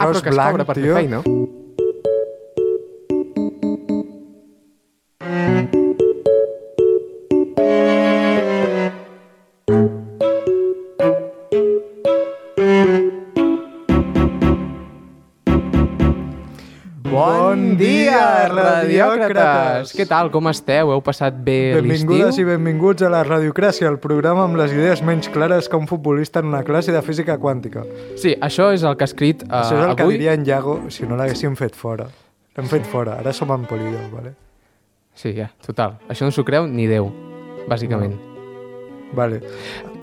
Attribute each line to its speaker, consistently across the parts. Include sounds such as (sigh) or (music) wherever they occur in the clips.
Speaker 1: George
Speaker 2: Ah, que es
Speaker 1: Blanc,
Speaker 2: cobra per
Speaker 1: tio.
Speaker 2: fer feina.
Speaker 1: Bon dia, radiòcrates!
Speaker 2: Què tal, com esteu? Heu passat bé
Speaker 1: Benvingudes i
Speaker 2: l'estiu?
Speaker 1: benvinguts a la Radiocràcia, el programa amb les idees menys clares que un futbolista en una classe de física quàntica.
Speaker 2: Sí, això és el que ha escrit uh,
Speaker 1: Això és el
Speaker 2: Ah, avui.
Speaker 1: que diria en Iago si no l'haguéssim fet fora. L'hem fet fora, ara som en polígon, vale?
Speaker 2: Sí, ja, total. Això no s'ho creu ni Déu, bàsicament.
Speaker 1: Vale.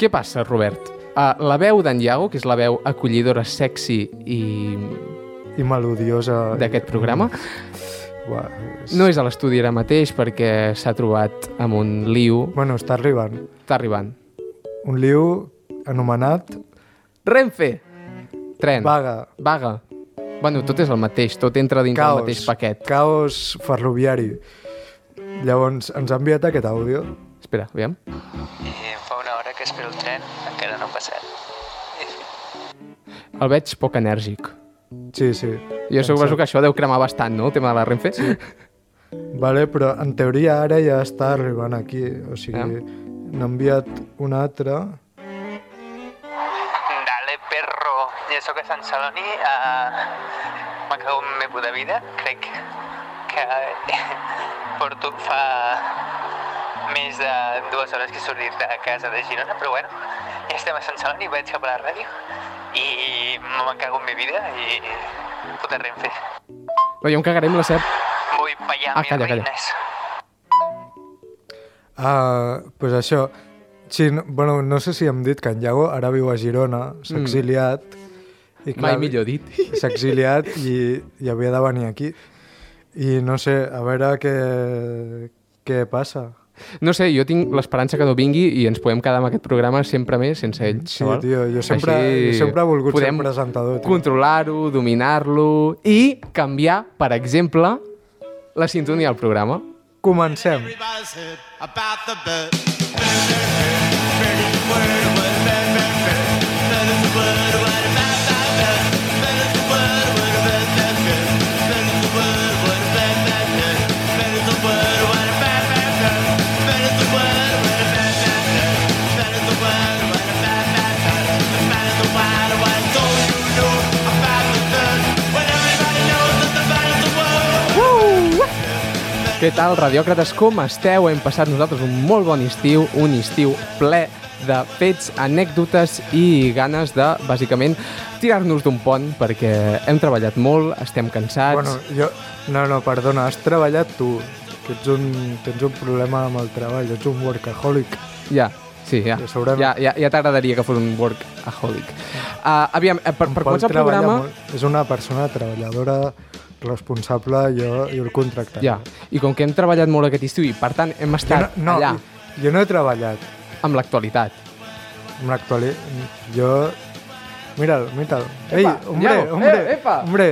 Speaker 2: Què passa, Robert? Uh, la veu d'en Iago, que és la veu acollidora, sexy i
Speaker 1: I melodiosa.
Speaker 2: d'aquest programa,
Speaker 1: Uà, és...
Speaker 2: no és a l'estudi ara mateix perquè s'ha trobat amb un liu.
Speaker 1: Bueno, està arribant.
Speaker 2: Està arribant.
Speaker 1: Un liu anomenat
Speaker 2: Renfe! Tren.
Speaker 1: Vaga.
Speaker 2: Vaga. Bueno, tot és el mateix, tot entra dins
Speaker 1: Caos.
Speaker 2: del mateix paquet.
Speaker 1: Caos ferroviari. Llavors, ens ha enviat aquest àudio.
Speaker 2: Espera, aviam.
Speaker 3: Eh, fa una hora que espero el tren, encara no ha passat.
Speaker 2: El veig poc enèrgic.
Speaker 1: Sí, sí.
Speaker 2: Jo suposo que això deu cremar bastant, no?, el tema de la Renfe. (laughs) Sí.
Speaker 1: Vale, però en teoria ara ja està arribant aquí. O sigui,
Speaker 2: Ah.
Speaker 1: n'ha enviat un altre.
Speaker 3: Dale, perro. Jo sóc a Sant Celoni, a... me cago en meu de vida. Crec que (laughs) porto fa més de dues hores que he sortit de casa de Girona, però bueno, ja estem a Sant Celoni, vaig cap a la ràdio i me cago en mi vida i puta Renfe.
Speaker 2: No, jo em cagaré amb la seva...
Speaker 3: Vull ballar
Speaker 2: Ah,
Speaker 3: amb
Speaker 2: calla,
Speaker 3: mis
Speaker 2: calla.
Speaker 3: veïnes.
Speaker 1: Ah, pues això. Sí, no, bueno, no sé si hem dit que en Iago ara viu a Girona, s'ha exiliat. I
Speaker 2: Mm. Mai millor dit.
Speaker 1: S'ha exiliat i, i havia de venir aquí. I no sé, a veure què, què passa.
Speaker 2: No sé, jo tinc l'esperança que no vingui i ens podem quedar amb aquest programa sempre més sense ell.
Speaker 1: Sí,
Speaker 2: val?
Speaker 1: Mm-hmm. tio, jo sempre- jo sempre he volgut ser
Speaker 2: podem
Speaker 1: presentador, tio.
Speaker 2: controlar-ho, dominar-lo i canviar, per exemple, la sintonia del programa.
Speaker 1: Comencem.
Speaker 4: Everybody's heard about the bird. Bird, bird, bird is the word, word, bird, bird, bird. Bird is the word, word, bird, bird, bird. Bird is the word, word, bird, bird, bird. Bird is the word, word, bird, bird, bird. Bird is the word, word, bird, bird, bird. Bird is the word, word, bird, bird, bird. Bird is the word, word, bird, bird, bird. The man is the wild one, don't you know about the bird? When everybody knows that the man is the word.
Speaker 2: Què tal, radiòcrates? Com esteu? Hem passat nosaltres un molt bon estiu, un estiu ple de fets, anècdotes i ganes de, bàsicament, tirar-nos d'un pont perquè hem treballat molt, estem cansats...
Speaker 1: Bueno, jo... No, no, perdona, has treballat tu. Que ets un, tens un problema amb el treball, ets un workaholic.
Speaker 2: Ja, sí, ja.
Speaker 1: Ja sabrem.
Speaker 2: Ja, ja, ja t'agradaria que fos un workaholic. Uh, aviam, eh, per, per
Speaker 1: Pol
Speaker 2: començar el
Speaker 1: treballa
Speaker 2: programa...
Speaker 1: molt. És una persona treballadora, responsable, jo, jo el contractaré.
Speaker 2: Ja, i com que hem treballat molt aquest estiu i, per tant, hem
Speaker 1: Jo
Speaker 2: estat
Speaker 1: no, no,
Speaker 2: allà
Speaker 1: jo no he treballat
Speaker 2: amb l'actualitat.
Speaker 1: amb l'actual... Jo... Mira'l, mira'l. Ei, hombre,
Speaker 2: Iago,
Speaker 1: hombre,
Speaker 2: eh, epa.
Speaker 1: hombre.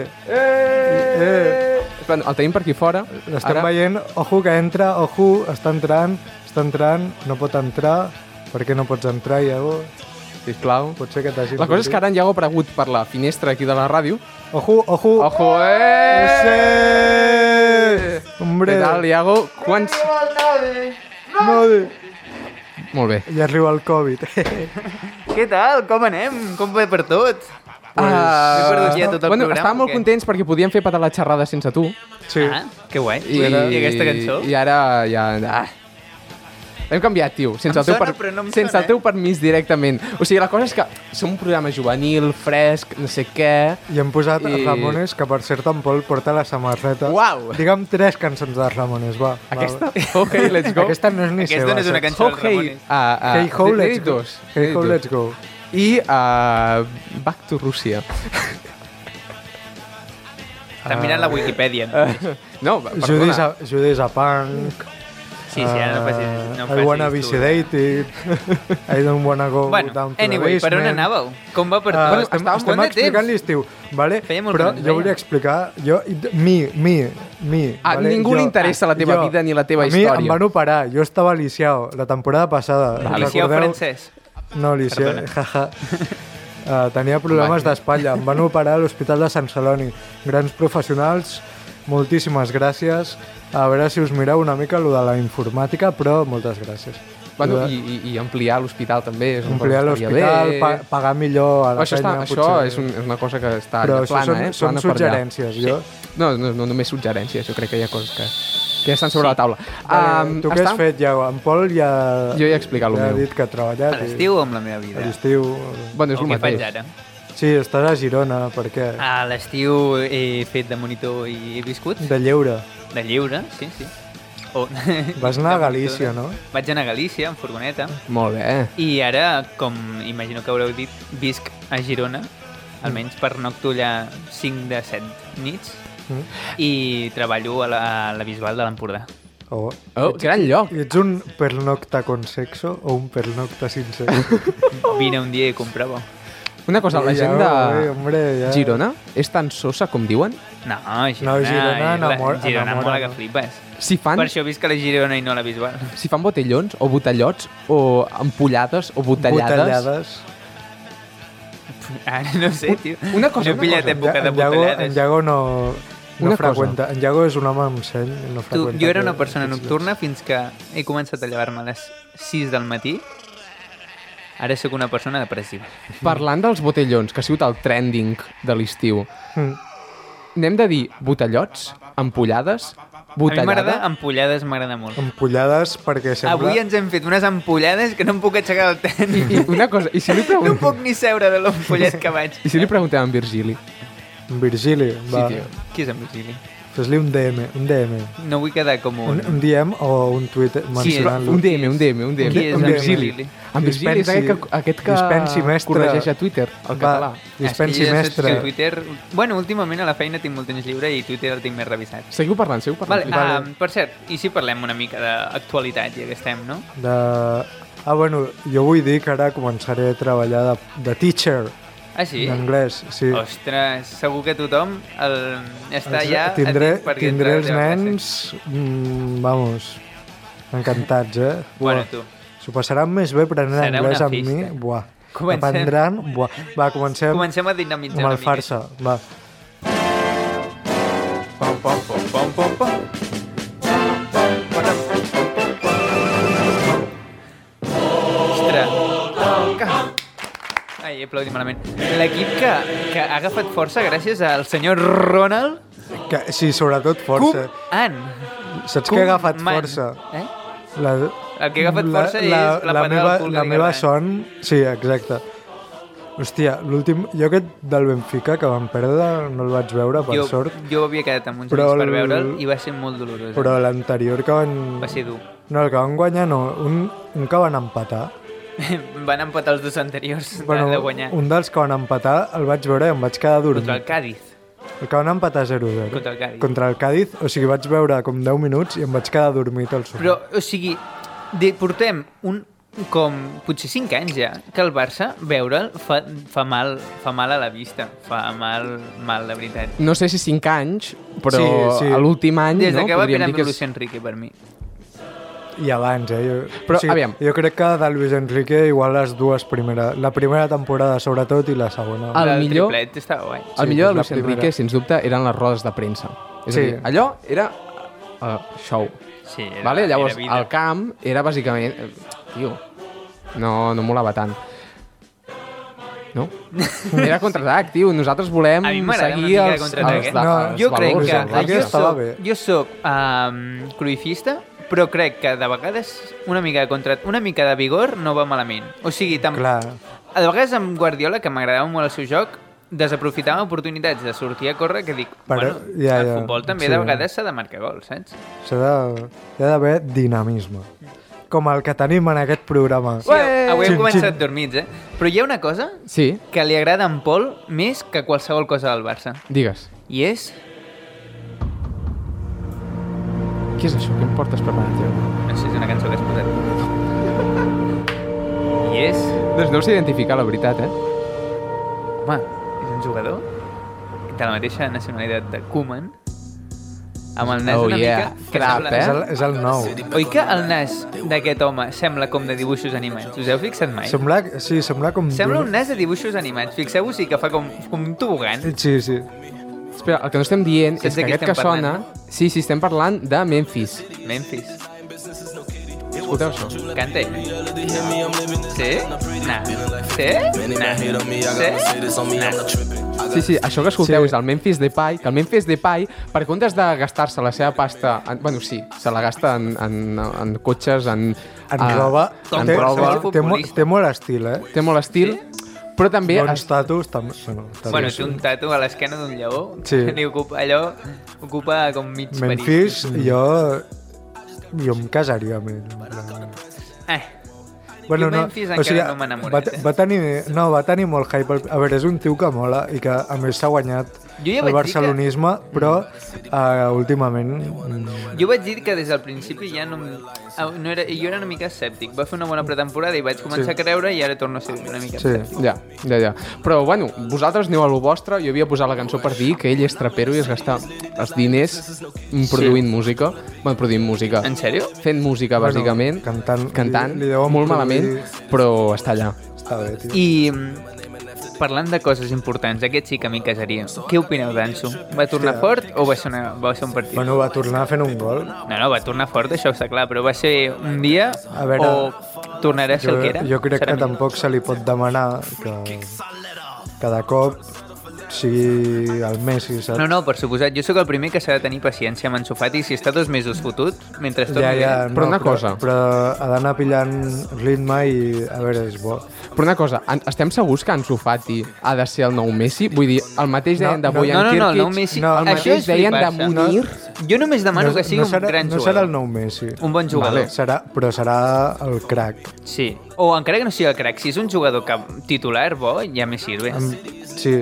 Speaker 1: Eh.
Speaker 2: Espera, El tenim per aquí fora.
Speaker 1: L'estem veient, ojo que entra, ojo, està entrant, està entrant, no pot entrar, perquè no pots entrar, Iago?
Speaker 2: Sisplau.
Speaker 1: Pot ser que t'hagi...
Speaker 2: La cosa és que ara en Iago ha aparegut per la finestra aquí de la ràdio.
Speaker 1: Ojo, ojo!
Speaker 2: Ojo, eh!
Speaker 1: Sí! Hombre!
Speaker 2: Què tal, Iago? Quants...
Speaker 1: No, de-
Speaker 2: Molt bé.
Speaker 1: I arriba el Covid. (laughs)
Speaker 5: Què tal? Com anem? Com va per tot?
Speaker 2: Ah,
Speaker 5: perdut ja tot el
Speaker 2: bueno,
Speaker 5: programa,
Speaker 2: estàvem
Speaker 5: o
Speaker 2: molt
Speaker 5: què?
Speaker 2: contents perquè podíem fer patar la xerrada sense tu.
Speaker 1: Sí.
Speaker 5: Ah, que guai. I, I aquesta cançó?
Speaker 2: I ara ja... Ah. L'hem canviat, tio, sense,
Speaker 5: Em
Speaker 2: el teu,
Speaker 5: sona, però no em
Speaker 2: sense
Speaker 5: sona, eh?
Speaker 2: el teu permís directament. O sigui, la cosa és que som un programa juvenil, fresc, no sé què...
Speaker 1: I hem posat I...
Speaker 2: I-
Speaker 1: Ramones, que per cert en Pol porta la samarreta.
Speaker 2: Uau!
Speaker 1: Digue'm tres cançons de Ramones, va.
Speaker 2: Aquesta?
Speaker 1: Va,
Speaker 2: Oh, hey, let's
Speaker 1: va.
Speaker 2: go.
Speaker 1: Aquesta no és ni
Speaker 5: Aquesta
Speaker 1: seva.
Speaker 5: no és una
Speaker 1: saps?
Speaker 5: cançó Ah.
Speaker 2: Oh,
Speaker 5: dels
Speaker 2: hey, uh, uh,
Speaker 5: Ramones.
Speaker 1: Hey Ho, let's go.
Speaker 2: Dos.
Speaker 1: Hey Ho, let's go.
Speaker 2: I
Speaker 1: eh,
Speaker 2: uh, Back to Rússia.
Speaker 5: Està mirant
Speaker 1: Ah,
Speaker 5: la Wikipedia. No?
Speaker 2: No, perdona.
Speaker 1: Judi's a, Judi's a Punk. eh,
Speaker 5: Sí, sí, ara no facis, no em
Speaker 1: I wanna be
Speaker 5: facis tu. eh.
Speaker 1: sedated. (laughs) I don't wanna go
Speaker 5: Bueno,
Speaker 1: down to
Speaker 5: anyway,
Speaker 1: the
Speaker 5: per on
Speaker 1: basement.
Speaker 5: anàveu? Com va per
Speaker 1: Ah,
Speaker 5: tot?
Speaker 1: estem,
Speaker 5: Estàvem
Speaker 1: estem
Speaker 5: bon de
Speaker 1: explicant
Speaker 5: temps.
Speaker 1: l'estiu, vale?
Speaker 5: Feia molt
Speaker 1: però
Speaker 5: que no ens
Speaker 1: jo volia
Speaker 5: veiem.
Speaker 1: explicar, jo, mi, mi, mi.
Speaker 2: A Ah, ningú li interessa la teva vida ni la teva
Speaker 1: a
Speaker 2: història. Ah,
Speaker 1: A mi em van operar, jo estava a Liceu la temporada passada.
Speaker 5: Liceu
Speaker 1: recordeu?
Speaker 5: francès.
Speaker 1: No, Liceu, jaja. Eh, tenia problemes d'espatlla. Em van operar a l'Hospital de Sant Celoni. Grans professionals, moltíssimes gràcies. A veure si us mireu una mica lo de la informàtica, però moltes gràcies.
Speaker 2: Bueno,
Speaker 1: Lo de
Speaker 2: i, i, i ampliar l'hospital també. És una
Speaker 1: Ampliar
Speaker 2: cosa que Doncs estaria
Speaker 1: l'hospital,
Speaker 2: bé.
Speaker 1: pa pagar millor a la
Speaker 2: Això, està,
Speaker 1: penya,
Speaker 2: això
Speaker 1: potser.
Speaker 2: és, un, és una cosa que està
Speaker 1: Però
Speaker 2: allà
Speaker 1: això
Speaker 2: plana,
Speaker 1: són,
Speaker 2: eh?
Speaker 1: són
Speaker 2: plana per allà.
Speaker 1: suggerències, jo.
Speaker 2: No, no, no només suggerències, jo crec que hi ha coses que, que ja estan sobre sí. la taula.
Speaker 1: Um, tu què has fet ja? En Pol ja...
Speaker 2: Jo ja he explicat el
Speaker 1: ja ha
Speaker 2: meu.
Speaker 1: dit que ha treballat.
Speaker 5: A
Speaker 1: i-
Speaker 5: l'estiu amb la meva
Speaker 1: A
Speaker 5: vida.
Speaker 1: l'estiu...
Speaker 2: Bueno, és
Speaker 5: El
Speaker 2: el
Speaker 5: que faig
Speaker 2: mateix.
Speaker 5: ara.
Speaker 1: Sí, estàs a Girona, per què?
Speaker 5: A l'estiu he fet de monitor i he viscut.
Speaker 1: De lleure.
Speaker 5: De lliure, sí, sí. O...
Speaker 1: Vas anar a
Speaker 5: de
Speaker 1: Galícia,
Speaker 5: monitora.
Speaker 1: no?
Speaker 5: Vaig anar a Galícia, en furgoneta.
Speaker 2: Molt bé.
Speaker 5: I ara, com imagino que haureu dit, visc a Girona,
Speaker 2: Mm.
Speaker 5: almenys per noctullar 5 de 7 nits,
Speaker 1: Mm.
Speaker 5: i treballo a la, a la Bisbal de l'Empordà.
Speaker 1: Oh.
Speaker 2: Oh, gran lloc.
Speaker 1: Ets un pernocta con sexo o un pernocta
Speaker 2: (laughs)
Speaker 1: sin sexo?
Speaker 2: Oh!
Speaker 5: Vine un dia i comprava.
Speaker 2: Una cosa, la
Speaker 1: Ja,
Speaker 2: gent
Speaker 1: oi,
Speaker 2: de
Speaker 1: hombre, ja.
Speaker 2: Girona és tan sosa com diuen?
Speaker 5: No, Girona,
Speaker 1: No, Girona
Speaker 5: i la-
Speaker 1: enamora-
Speaker 5: Girona
Speaker 1: enamora,
Speaker 5: mola que
Speaker 1: no?
Speaker 5: flipes.
Speaker 2: Si fan,
Speaker 5: Per això visc a la Girona i no a la Bisbal. (laughs)
Speaker 2: si fan botellons o botellots o ampollades o botellades...
Speaker 1: Botellades.
Speaker 5: Ara no sé, tio.
Speaker 2: Una cosa,
Speaker 5: No he
Speaker 2: una
Speaker 5: pillat
Speaker 2: cosa.
Speaker 5: època de
Speaker 1: En Iago- En
Speaker 5: botellades.
Speaker 1: Iago no, no
Speaker 2: Una cosa.
Speaker 1: freqüenta. En Iago és un home amb seny. No
Speaker 5: Tu,
Speaker 1: freqüenta
Speaker 5: jo era una
Speaker 1: que-
Speaker 5: persona nocturna fins que he començat a llevar-me a les 6 del matí. Ara sóc una persona depressiva.
Speaker 2: Parlant dels botellons, que ha sigut el trending de l'estiu,
Speaker 1: Mm.
Speaker 2: n'hem de dir botellots, ampollades,
Speaker 5: A mi m'agrada,
Speaker 2: botellada...
Speaker 5: empollades m'agrada molt.
Speaker 1: Ampollades perquè sembla...
Speaker 5: Avui ens hem fet unes ampollades que no em puc aixecar del
Speaker 2: I
Speaker 1: (laughs)
Speaker 5: tenis.
Speaker 2: una cosa, i si li,
Speaker 5: No
Speaker 2: pregun...
Speaker 5: puc ni seure de l'empollet que vaig.
Speaker 2: I si li preguntem a en Virgili?
Speaker 1: Virgili, va.
Speaker 2: tio.
Speaker 5: Qui és en Virgili?
Speaker 1: Fes-li un DM, un DM.
Speaker 5: No vull quedar com
Speaker 1: Un,
Speaker 5: un...
Speaker 1: un DM o un Twitter mencionant-lo.
Speaker 2: Un DM, un DM, un DM.
Speaker 5: Qui és
Speaker 1: en
Speaker 2: en Virgili?
Speaker 5: Virgili?
Speaker 2: En Virgili és
Speaker 1: Dispensi-
Speaker 2: aquest que, aquest que
Speaker 1: dispensi, mestre.
Speaker 2: corregeix a Twitter,
Speaker 1: Va,
Speaker 2: el català.
Speaker 1: Dispensi
Speaker 5: Ah, És que ja saps
Speaker 1: mestre.
Speaker 5: Que Twitter... Bueno, últimament a la feina tinc molt temps lliure i Twitter el tinc més revisat.
Speaker 2: Seguiu parlant, seguiu
Speaker 5: Vale,
Speaker 2: parlant.
Speaker 5: vale. Um, per cert, i si parlem una mica d'actualitat, ja que estem, no?
Speaker 1: De... Ah, bueno, jo vull dir que ara començaré a treballar de, de teacher
Speaker 5: Ah, sí?
Speaker 1: d'anglès. Sí.
Speaker 5: Ostres, segur que tothom el... està
Speaker 1: Els-
Speaker 5: ja...
Speaker 1: tindré,
Speaker 5: atent perquè
Speaker 1: tindré
Speaker 5: entra
Speaker 1: els
Speaker 5: a la classe.
Speaker 1: nens, mm, vamos, encantats, eh?
Speaker 5: Bueno, tu.
Speaker 1: S'ho passaran més bé prenent
Speaker 5: Serà
Speaker 1: anglès
Speaker 5: una
Speaker 1: amb mi.
Speaker 5: festa.
Speaker 1: Buah.
Speaker 5: Comencem.
Speaker 1: Aprendran. Buah. Va, comencem,
Speaker 5: Comencem a dinamitzar
Speaker 1: amb
Speaker 5: una
Speaker 1: el
Speaker 5: mica.
Speaker 1: farsa. Va.
Speaker 5: Pom, pom, pom, pom, pom, pom. Ostres. Ai, he aplaudit malament. L'equip que, que ha agafat força gràcies al senyor Ronald
Speaker 1: Que, sí, sobretot força.
Speaker 5: Koeman.
Speaker 1: Saps què ha agafat
Speaker 5: Koeman.
Speaker 1: força?
Speaker 5: Eh?
Speaker 1: La,
Speaker 5: El que ha agafat força és la patada
Speaker 1: meva,
Speaker 5: del cul eh? que
Speaker 1: La
Speaker 5: li
Speaker 1: meva
Speaker 5: agrada.
Speaker 1: son... Sí, exacte. Hòstia, l'últim... Jo aquest del Benfica que vam perdre no el vaig veure, per
Speaker 5: Jo,
Speaker 1: sort.
Speaker 5: jo havia quedat amb uns
Speaker 1: Però
Speaker 5: amics per
Speaker 1: el-
Speaker 5: veure'l i va ser molt dolorós. eh?
Speaker 1: Però l'anterior que van...
Speaker 5: Va ser dur. (laughs)
Speaker 1: No, el que van guanyar no. Un, un que van empatar.
Speaker 5: Van empatar els dos anteriors bueno, Ah, de guanyar.
Speaker 1: un dels que van empatar el vaig veure i em vaig quedar dormit.
Speaker 5: Contra el Cádiz.
Speaker 1: El que van empatar 0-0.
Speaker 5: Contra el Cádiz.
Speaker 1: Contra el Cádiz, o sigui, vaig veure com 10 minuts i em vaig quedar dormit al sofà.
Speaker 5: Però, o sigui, de, portem un com potser 5 anys ja, que el Barça veure'l fa, fa, mal, fa mal a la vista, fa mal, mal de veritat.
Speaker 2: No sé si 5 anys, però
Speaker 1: Sí, sí.
Speaker 2: a l'últim any...
Speaker 5: Des de
Speaker 2: no?
Speaker 5: que va
Speaker 2: Podríem
Speaker 5: pirar
Speaker 2: dir
Speaker 5: amb
Speaker 2: que és-
Speaker 5: Luis Enrique, per mi.
Speaker 1: I abans, eh? Jo,
Speaker 2: Però, aviam.
Speaker 1: Jo crec que de Luis Enrique igual les dues primeres... La primera temporada, sobretot, i la segona.
Speaker 2: El
Speaker 5: del
Speaker 2: millor-
Speaker 5: triplet estava guai.
Speaker 2: El
Speaker 1: Sí,
Speaker 2: millor de
Speaker 1: és la
Speaker 2: Luis
Speaker 1: primera.
Speaker 2: Enrique, sens dubte, eren les rodes de premsa. És
Speaker 1: Sí.
Speaker 2: a dir, allò era uh, show.
Speaker 5: Sí, era,
Speaker 2: vale? Llavors,
Speaker 5: era vida.
Speaker 2: el camp era bàsicament... eh, Tio, no, no molava tant.
Speaker 5: (laughs)
Speaker 2: No? Era contraatac, tio. Nosaltres volem
Speaker 5: A mi m'agrada una
Speaker 2: seguir
Speaker 5: mica de
Speaker 2: els, els,
Speaker 5: contraatac,
Speaker 2: els,
Speaker 5: eh?
Speaker 1: No,
Speaker 2: valors.
Speaker 5: Jo crec
Speaker 1: valors,
Speaker 5: que...
Speaker 1: els valors.
Speaker 5: Jo
Speaker 1: Estava
Speaker 5: soc,
Speaker 1: bé.
Speaker 5: jo soc um, cruifista, però crec que de vegades una mica de, contra... una mica de vigor no va malament. O sigui, tam...
Speaker 1: Clar.
Speaker 5: A vegades amb Guardiola, que m'agradava molt el seu joc, desaprofitava oportunitats de sortir a córrer que dic,
Speaker 1: Però,
Speaker 5: bueno,
Speaker 1: ja,
Speaker 5: el
Speaker 1: ja,
Speaker 5: futbol també
Speaker 1: sí.
Speaker 5: de vegades s'ha de marcar gols, saps?
Speaker 1: S'ha de... Hi ha d'haver dinamisme. Com el que tenim en aquest programa.
Speaker 5: Sí, avui hem
Speaker 1: Xin,
Speaker 5: començat
Speaker 1: xin.
Speaker 5: dormits, eh? Però hi ha una cosa
Speaker 2: Sí,
Speaker 5: que li agrada a en Pol més que qualsevol cosa del Barça.
Speaker 2: digues.
Speaker 5: I és...
Speaker 2: Què és això? Què em portes preparat, tio?
Speaker 5: No sé si és una cançó que has posat. I és...
Speaker 2: Doncs no ho sé identificar, la veritat, eh?
Speaker 5: Home, és un jugador de la mateixa nacionalitat de Koeman amb el nas
Speaker 2: Oh,
Speaker 5: una
Speaker 2: yeah. eh?
Speaker 5: mica... Que
Speaker 2: Crap,
Speaker 1: És
Speaker 5: sembla...
Speaker 1: el, és el nou.
Speaker 5: Oi que el nas d'aquest home sembla com de dibuixos animats? Us heu fixat mai?
Speaker 1: Sembla, sí, sembla com...
Speaker 5: Sembla un nas de dibuixos animats. Fixeu-vos, sí que fa com, com un tobogant.
Speaker 1: Sí, sí.
Speaker 2: Espera, el que no estem dient
Speaker 5: Saps
Speaker 2: és que
Speaker 5: de qui
Speaker 2: aquest que
Speaker 5: estem parlant,
Speaker 2: sona... Sí, sí, estem parlant de Memphis.
Speaker 5: Memphis.
Speaker 2: Escolteu això.
Speaker 5: Canta ell. Sí? Nah. Sí? Nah. Sí? Nah.
Speaker 2: Sí, sí, això que escolteu
Speaker 1: Sí.
Speaker 2: sí. és el Memphis Depay, que el Memphis Depay, per comptes de gastar-se la seva pasta... En, bueno, sí, se la gasta en, en, en cotxes, en...
Speaker 1: En
Speaker 5: Ah.
Speaker 2: eh,
Speaker 1: roba...
Speaker 5: Com
Speaker 2: En
Speaker 1: té,
Speaker 2: roba.
Speaker 5: qualsevol
Speaker 1: té, mo-
Speaker 5: futbolista.
Speaker 1: té molt estil, eh?
Speaker 2: Té molt estil, però també...
Speaker 1: Bons
Speaker 2: es-
Speaker 1: tatus, també. Bueno, tatus.
Speaker 5: Bueno, té un tatu a l'esquena d'un lleó. (laughs)
Speaker 1: Sí.
Speaker 5: Li ocupa, allò ocupa com mig
Speaker 1: Memphis, jo... Jo em casaria amb ell. en plan.
Speaker 5: París. Ah,
Speaker 1: Bueno,
Speaker 5: Jo
Speaker 1: no,
Speaker 5: Memphis encara no m'ha
Speaker 1: va,
Speaker 5: enamorat, eh?
Speaker 1: va, tenir, no, va tenir molt hype. al- A veure, és un tio que mola i que, a més, s'ha guanyat
Speaker 5: Jo ja vaig dir
Speaker 1: el
Speaker 5: que- Mm.
Speaker 1: barcelonisme, però eh, últimament... mm,
Speaker 5: jo vaig dir que des del principi ja no, em- ah, no era, jo era una mica escèptic. Va fer una bona pretemporada i vaig començar
Speaker 1: Sí.
Speaker 5: a creure i ara torno a ser una mica
Speaker 1: Sí.
Speaker 5: escèptic.
Speaker 2: Ja, ja, ja. Però, bueno, vosaltres aneu a lo vostre. Jo havia posat la cançó per dir que ell és trapero i es gasta els diners produint sí. música. Bueno, produint música.
Speaker 5: En sèrio?
Speaker 2: Fent música,
Speaker 1: Bueno,
Speaker 2: bàsicament.
Speaker 1: cantant.
Speaker 2: Cantant.
Speaker 1: Li- li deuen
Speaker 2: molt
Speaker 1: produir-
Speaker 2: malament, però està allà.
Speaker 1: Està bé, tio.
Speaker 5: I mm, parlant de coses importants, aquest sí que m'hi casaria. Què opineu d'Anso? Va tornar fort o va ser, una, va ser un partit?
Speaker 1: Bueno, va tornar fent un gol.
Speaker 5: No, no, va tornar fort, això està clar, però va ser un dia
Speaker 1: A veure,
Speaker 5: o tornarà a ser
Speaker 1: Jo,
Speaker 5: el que era?
Speaker 1: jo crec
Speaker 5: Serà
Speaker 1: que
Speaker 5: millor.
Speaker 1: tampoc se li pot demanar que, que de cop sigui el Messi, saps?
Speaker 5: No, no, per suposat, jo sóc el primer que s'ha de tenir paciència amb Ansu Fati si està dos mesos fotut, mentre tot
Speaker 1: Ja, ja,
Speaker 5: bé.
Speaker 1: no,
Speaker 2: Però una cosa.
Speaker 1: Però, ha d'anar pillant ritme i a veure, és bo.
Speaker 2: Però una cosa, en, estem segurs que Ansu Fati ha de ser el nou Messi? Vull dir, el mateix
Speaker 1: No,
Speaker 2: deien d'avui en
Speaker 5: No, no, no, el
Speaker 2: Kirkic.
Speaker 5: nou Messi...
Speaker 1: No, el
Speaker 5: això
Speaker 2: mateix
Speaker 5: és
Speaker 2: deien
Speaker 5: flipar-se.
Speaker 2: de Munir.
Speaker 5: Jo només demano que sigui
Speaker 1: no serà,
Speaker 5: un gran
Speaker 1: no
Speaker 5: jugador.
Speaker 1: serà el nou Messi.
Speaker 5: Un bon jugador.
Speaker 2: Vale.
Speaker 1: Serà, però serà el crack.
Speaker 5: Sí. O encara que no sigui el crack, si és un jugador que titular bo, ja me sirve.
Speaker 1: Amb, sí.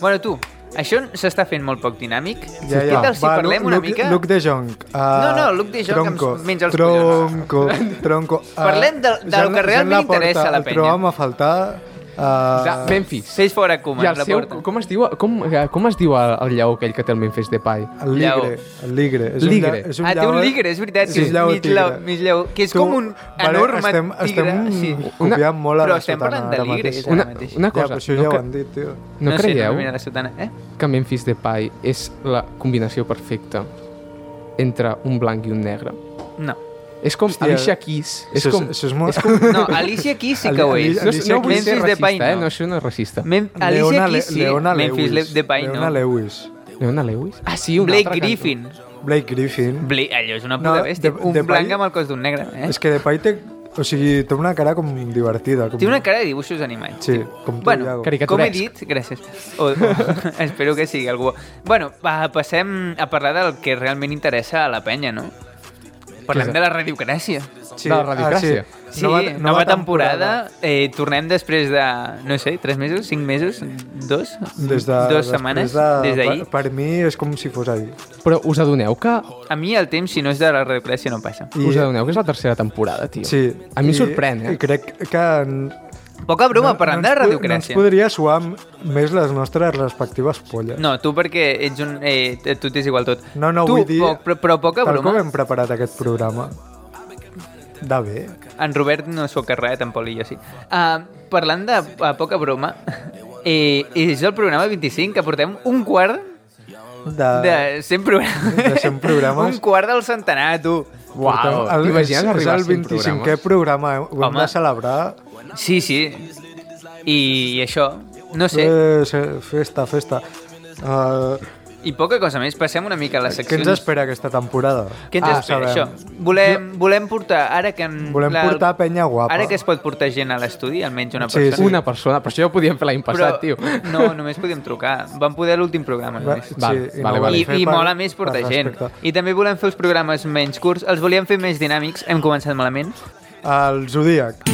Speaker 5: Bueno, tu, això s'està fent molt poc dinàmic.
Speaker 1: Ja,
Speaker 5: Què
Speaker 1: ja.
Speaker 5: tal si
Speaker 1: Va,
Speaker 5: parlem
Speaker 1: Luke-
Speaker 5: una
Speaker 1: Luke-
Speaker 5: mica...
Speaker 1: Luke de Jong. Uh,
Speaker 5: No, no, Luke de Jong que
Speaker 1: tronco,
Speaker 5: ens menja els
Speaker 1: Tronco,
Speaker 5: (laughs)
Speaker 1: tronco. Uh,
Speaker 5: Parlem del- del que realment interessa a la penya.
Speaker 1: El trobam a faltar... Uh,
Speaker 2: De Memphis.
Speaker 5: Fes fora Koeman,
Speaker 2: I el
Speaker 5: la
Speaker 2: seu,
Speaker 5: porta.
Speaker 2: com es diu, com, eh, com es diu el, el lleó aquell que té el Memphis Depay?
Speaker 1: El ligre, el ligre. És un
Speaker 2: Ligre.
Speaker 1: lla- és
Speaker 5: Ah, té un
Speaker 1: llaor-
Speaker 5: ligre, és veritat,
Speaker 1: és
Speaker 5: que
Speaker 1: un
Speaker 5: és
Speaker 1: llaor
Speaker 5: mig
Speaker 1: tigre.
Speaker 5: lau- mig llaor, que és com un enorme
Speaker 1: estem,
Speaker 5: tigre,
Speaker 1: Estem
Speaker 5: sí.
Speaker 1: copiant
Speaker 2: Una-
Speaker 1: molt a
Speaker 5: però
Speaker 1: la
Speaker 5: estem
Speaker 1: sotana
Speaker 5: parlant de
Speaker 1: ara
Speaker 5: ligre,
Speaker 1: mateix.
Speaker 5: és
Speaker 2: Una,
Speaker 5: mateix.
Speaker 2: una
Speaker 1: Ja,
Speaker 2: cosa,
Speaker 1: però això ja
Speaker 2: no,
Speaker 1: ho
Speaker 2: cre-
Speaker 1: han dit, tio.
Speaker 2: no,
Speaker 5: sé,
Speaker 2: creieu
Speaker 5: no mira la sotana, eh?
Speaker 2: que Memphis Depay és la combinació perfecta entre un blanc i un negre.
Speaker 5: No.
Speaker 2: És com
Speaker 1: Hòstia.
Speaker 2: Hòstia, Alicia Keys. És
Speaker 1: Això
Speaker 2: com...
Speaker 1: Això és molt...
Speaker 5: No, Alicia Keys sí que
Speaker 1: Ali-
Speaker 5: ho
Speaker 1: Ali-
Speaker 5: és.
Speaker 2: No,
Speaker 1: Alicia
Speaker 2: no vull
Speaker 5: Keys.
Speaker 2: ser
Speaker 5: Memphis
Speaker 2: racista,
Speaker 5: Depay,
Speaker 2: eh?
Speaker 5: no.
Speaker 2: No, això no és racista.
Speaker 5: Mem Alicia
Speaker 1: Leona,
Speaker 5: Keys
Speaker 1: Le-
Speaker 5: sí,
Speaker 1: Leona
Speaker 5: Memphis
Speaker 1: Lewis.
Speaker 5: Le- Depay no.
Speaker 1: Leona Lewis.
Speaker 2: Leona Lewis? Ah, sí, un
Speaker 5: Blake
Speaker 2: altre
Speaker 5: Griffin.
Speaker 1: Blake Griffin.
Speaker 5: Bla allò és una
Speaker 1: No,
Speaker 5: puta bèstia.
Speaker 1: de-
Speaker 5: un
Speaker 1: Depay-
Speaker 5: blanc amb el cos d'un negre, eh?
Speaker 1: És que Depay té... O sigui, té una cara com divertida. Com...
Speaker 5: Té una cara de dibuixos animats.
Speaker 1: Sí, com tu,
Speaker 5: Bueno,
Speaker 1: Iago.
Speaker 2: Caricaturesc.
Speaker 5: com he dit, gràcies. O, o, (laughs) espero que sigui algú... bo. Bueno, va, passem a parlar del que realment interessa a la penya, no? Parlem de la radiocràcia.
Speaker 1: Sí.
Speaker 2: de la radiocràcia.
Speaker 1: Ah,
Speaker 5: Sí, nova, nova, temporada. Eh, tornem després de, no sé, 3 mesos, 5 mesos, 2?
Speaker 1: Des de,
Speaker 5: Dues
Speaker 1: després
Speaker 5: setmanes,
Speaker 1: de,
Speaker 5: des d'ahir.
Speaker 1: Per, per mi és com si fos ahir.
Speaker 2: Cantó. Però us adoneu que...
Speaker 5: A mi el temps, si no és de la radiocràcia, no passa.
Speaker 2: Us adoneu que és la tercera temporada, tio.
Speaker 1: Sí.
Speaker 2: A mi
Speaker 1: i-
Speaker 2: em sorprèn, eh?
Speaker 1: I crec que... en-
Speaker 5: Poca broma, no, parlant
Speaker 1: ens
Speaker 5: de la
Speaker 1: po-
Speaker 5: radiocràcia.
Speaker 1: No ens podria suar més les nostres respectives polles.
Speaker 5: No, tu perquè ets un... Eh, a tu t'és igual tot.
Speaker 1: No, no,
Speaker 5: tu,
Speaker 1: vull dir...
Speaker 5: Poc, però, però poca
Speaker 1: tal
Speaker 5: broma.
Speaker 1: com hem preparat aquest programa. De bé.
Speaker 5: En Robert no s'ho carrega, tampoc i jo sí. Uh, parlant de uh, poca broma, eh, és el programa 25, que portem un quart
Speaker 1: De...
Speaker 5: de 100 programes.
Speaker 1: Ah. de 100 programes.
Speaker 5: (laughs) un quart del centenar, tu.
Speaker 2: Uau,
Speaker 1: Portem-
Speaker 2: t'imagines
Speaker 1: és-
Speaker 2: arribar a
Speaker 1: És el
Speaker 2: 100
Speaker 1: 25è
Speaker 2: programes?
Speaker 1: programa, eh? ho hem
Speaker 5: Home.
Speaker 1: de celebrar.
Speaker 5: Sí, sí. I, i això, no sé.
Speaker 1: Eh, se- festa, festa. Uh,
Speaker 5: I poca cosa més, passem una mica a les
Speaker 1: què
Speaker 5: seccions.
Speaker 1: ens espera aquesta temporada?
Speaker 5: Què ens
Speaker 1: No ho
Speaker 5: espera,
Speaker 1: sabem.
Speaker 5: això? Volem, volem portar, ara que... En,
Speaker 1: Volem portar penya guapa.
Speaker 5: Ara que es pot portar gent a l'estudi, almenys una
Speaker 1: Sí,
Speaker 5: persona.
Speaker 1: sí.
Speaker 2: Una persona, però això ja ho podíem fer l'any passat, tio.
Speaker 5: No, només podíem trucar. Vam poder l'últim programa,
Speaker 1: Va,
Speaker 5: només.
Speaker 1: sí,
Speaker 2: Val,
Speaker 1: i
Speaker 2: vale,
Speaker 1: no ho
Speaker 2: vale.
Speaker 1: vam
Speaker 5: I,
Speaker 1: fer
Speaker 5: i
Speaker 1: per-
Speaker 5: mola més portar
Speaker 1: per
Speaker 5: gent.
Speaker 1: respecte.
Speaker 5: I també volem fer els programes menys curts, els volíem fer més dinàmics, hem començat malament.
Speaker 1: El Zodíac.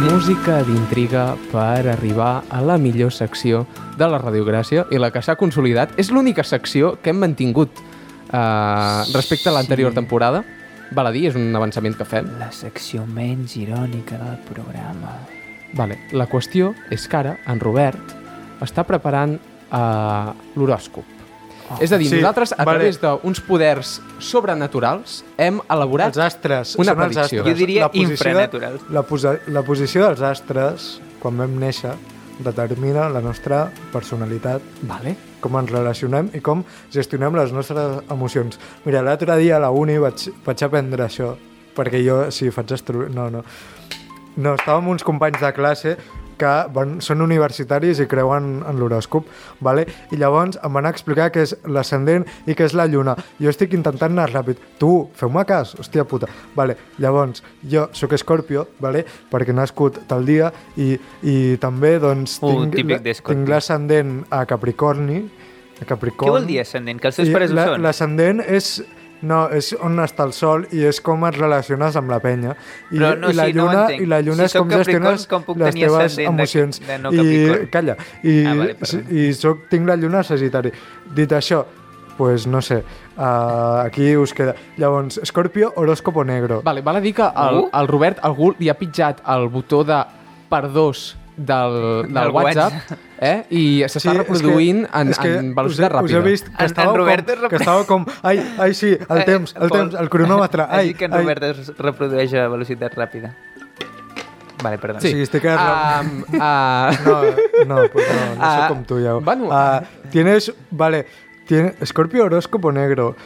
Speaker 2: Música d'intriga per arribar a la millor secció de la radiogràcia i la que s'ha consolidat és l'única secció que hem mantingut eh, respecte a l'anterior temporada. Val a dir, és un avançament que fem.
Speaker 5: La secció menys irònica del programa.
Speaker 2: Vale. La qüestió és que ara en Robert està preparant eh, l'horòscop. Oh, és a dir,
Speaker 1: sí,
Speaker 2: sí, nosaltres, a
Speaker 1: vale.
Speaker 2: través d'uns poders sobrenaturals, hem elaborat...
Speaker 1: Els astres.
Speaker 2: Una
Speaker 1: són els
Speaker 2: predicció.
Speaker 1: astres.
Speaker 5: Jo diria
Speaker 1: La posició-
Speaker 5: infranatural.
Speaker 1: La, posa, la posició dels astres, quan vam néixer, determina la nostra personalitat,
Speaker 2: Vale.
Speaker 1: com ens relacionem i com gestionem les nostres emocions. Mira, l'altre dia a la uni vaig, vaig aprendre això, perquè jo, si faig astro... No, no. No, estàvem uns companys de classe que van, són universitaris i creuen en l'horòscop, vale? i llavors em van explicar què és l'ascendent i què és la lluna. Jo estic intentant anar ràpid. Tu, feu-me cas, hòstia puta. Vale. Llavors, jo sóc escorpió, vale? perquè he nascut tal dia i, i també doncs,
Speaker 5: Uh, típic
Speaker 1: la-
Speaker 5: d'Escorpio.
Speaker 1: tinc l'ascendent a Capricorni. A Capricorn.
Speaker 5: Què vol dir ascendent? Que els teus
Speaker 1: I
Speaker 5: pares ho
Speaker 1: la-
Speaker 5: són?
Speaker 1: L'ascendent és... No, és on està el sol i és com et relaciones amb la penya. I,
Speaker 5: Però no,
Speaker 1: i la
Speaker 5: sí, no ho
Speaker 1: lluna,
Speaker 5: entenc.
Speaker 1: I la lluna
Speaker 5: Si
Speaker 1: és
Speaker 5: sóc
Speaker 1: com
Speaker 5: Capricorn,
Speaker 1: gestiones
Speaker 5: com puc
Speaker 1: les
Speaker 5: tenir
Speaker 1: teves
Speaker 5: ascendent de-
Speaker 1: emocions.
Speaker 5: de no
Speaker 1: I,
Speaker 5: Capricorn?
Speaker 1: calla, i,
Speaker 5: Ah, vale,
Speaker 1: si-
Speaker 5: perdó.
Speaker 1: i soc, tinc la lluna a Sagitari. Dit això, pues no sé, uh, aquí us queda. Llavors, Escorpio, horòscopo negro.
Speaker 2: Vale, val a dir que el,
Speaker 5: Uh?
Speaker 2: el Robert, algú li ha pitjat el botó de per dos del, del,
Speaker 5: Del
Speaker 2: WhatsApp, eh? i s'està
Speaker 1: és que-
Speaker 2: reproduint en,
Speaker 1: és que
Speaker 2: en
Speaker 1: us he-
Speaker 2: velocitat ràpida.
Speaker 1: Us he vist que
Speaker 5: En- en
Speaker 1: estàveu,
Speaker 5: Robert es
Speaker 1: com,
Speaker 5: repre-
Speaker 1: que estàveu com... Ai, ai, sí, el
Speaker 5: Eh,
Speaker 1: temps, el
Speaker 5: Pol,
Speaker 1: temps, el cronòmetre.
Speaker 5: (laughs) has
Speaker 1: Ai,
Speaker 5: dit que en
Speaker 1: ai.
Speaker 5: Robert es reprodueix a velocitat ràpida. Vale, perdona.
Speaker 1: Sí, estic quedant-
Speaker 2: Um, (laughs) uh,
Speaker 1: No, no, pues no, no
Speaker 2: Ah,
Speaker 1: soy como tú ya.
Speaker 2: bueno.
Speaker 1: Ah, tienes, vale, tiene, Scorpio horóscopo negro.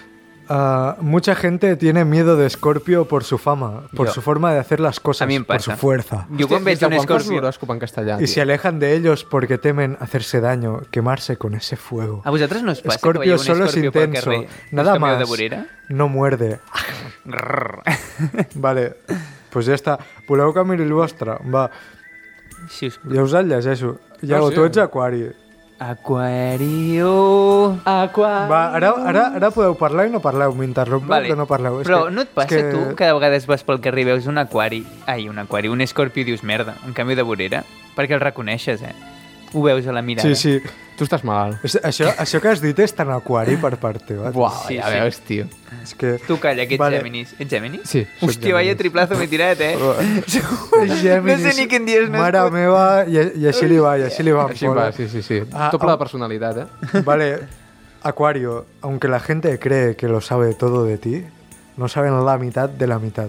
Speaker 1: Ah, mucha gente tiene miedo de Scorpio por su fama, por
Speaker 5: Yo.
Speaker 1: su forma de hacer las cosas,
Speaker 5: A mí me
Speaker 1: por su
Speaker 5: pasa.
Speaker 1: fuerza.
Speaker 5: Jo quan veig un escorpió...
Speaker 2: l'horòscop en castellà, tio.
Speaker 1: Y se alejan de ellos porque temen hacerse daño, quemarse con ese fuego.
Speaker 5: A vosaltres no us passa Ah, pues que
Speaker 1: Scorpio
Speaker 5: veieu un
Speaker 1: solo es
Speaker 5: escorpió pel
Speaker 1: intenso,
Speaker 5: carrer?
Speaker 1: nada
Speaker 5: Us canvieu
Speaker 1: más.
Speaker 5: de vorera?
Speaker 1: No muerde. vale, pues ya está. Voleu que miri el vostre? Va,
Speaker 5: Si us...
Speaker 1: ja us el llegeixo. Iago,
Speaker 2: Ah, sí?
Speaker 1: tu ets aquari.
Speaker 5: Aquario... Aquario...
Speaker 1: Va, ara, ara, ara podeu parlar i no parleu, m'interrompo vale. que no parleu. És
Speaker 5: Però
Speaker 1: que,
Speaker 5: no et
Speaker 1: és
Speaker 5: passa que... tu que de vegades vas pel carrer i veus un aquari... Ai, un aquari, un escorpió i dius merda, en canvi de vorera? Perquè el reconeixes, eh? Ho veus a la mirada.
Speaker 1: Sí, sí.
Speaker 2: Tu estàs malalt.
Speaker 1: És, això, això que has dit és tan aquari per part teva.
Speaker 2: Buah,
Speaker 5: Sí,
Speaker 2: sí, ja
Speaker 5: sí.
Speaker 2: sí. veus, tio.
Speaker 1: És que...
Speaker 5: Tu calla, que ets
Speaker 1: Vale.
Speaker 5: vale. Géminis. Ets Géminis?
Speaker 2: Sí, soc
Speaker 5: Hòstia, vaya
Speaker 2: Géminis.
Speaker 5: triplazo m'he tirat, eh?
Speaker 1: Géminis,
Speaker 5: (laughs) no sé ni quin dia és
Speaker 1: Mare
Speaker 5: nascut.
Speaker 1: meva, i, i així li va, i així li va.
Speaker 2: Així va, sí, sí, sí.
Speaker 1: Ah,
Speaker 2: Ah, Doble
Speaker 1: ah.
Speaker 2: de personalitat, eh?
Speaker 1: (laughs) Vale, Acuario, aunque la gente cree que lo sabe todo de ti, no saben la mitad de la mitad.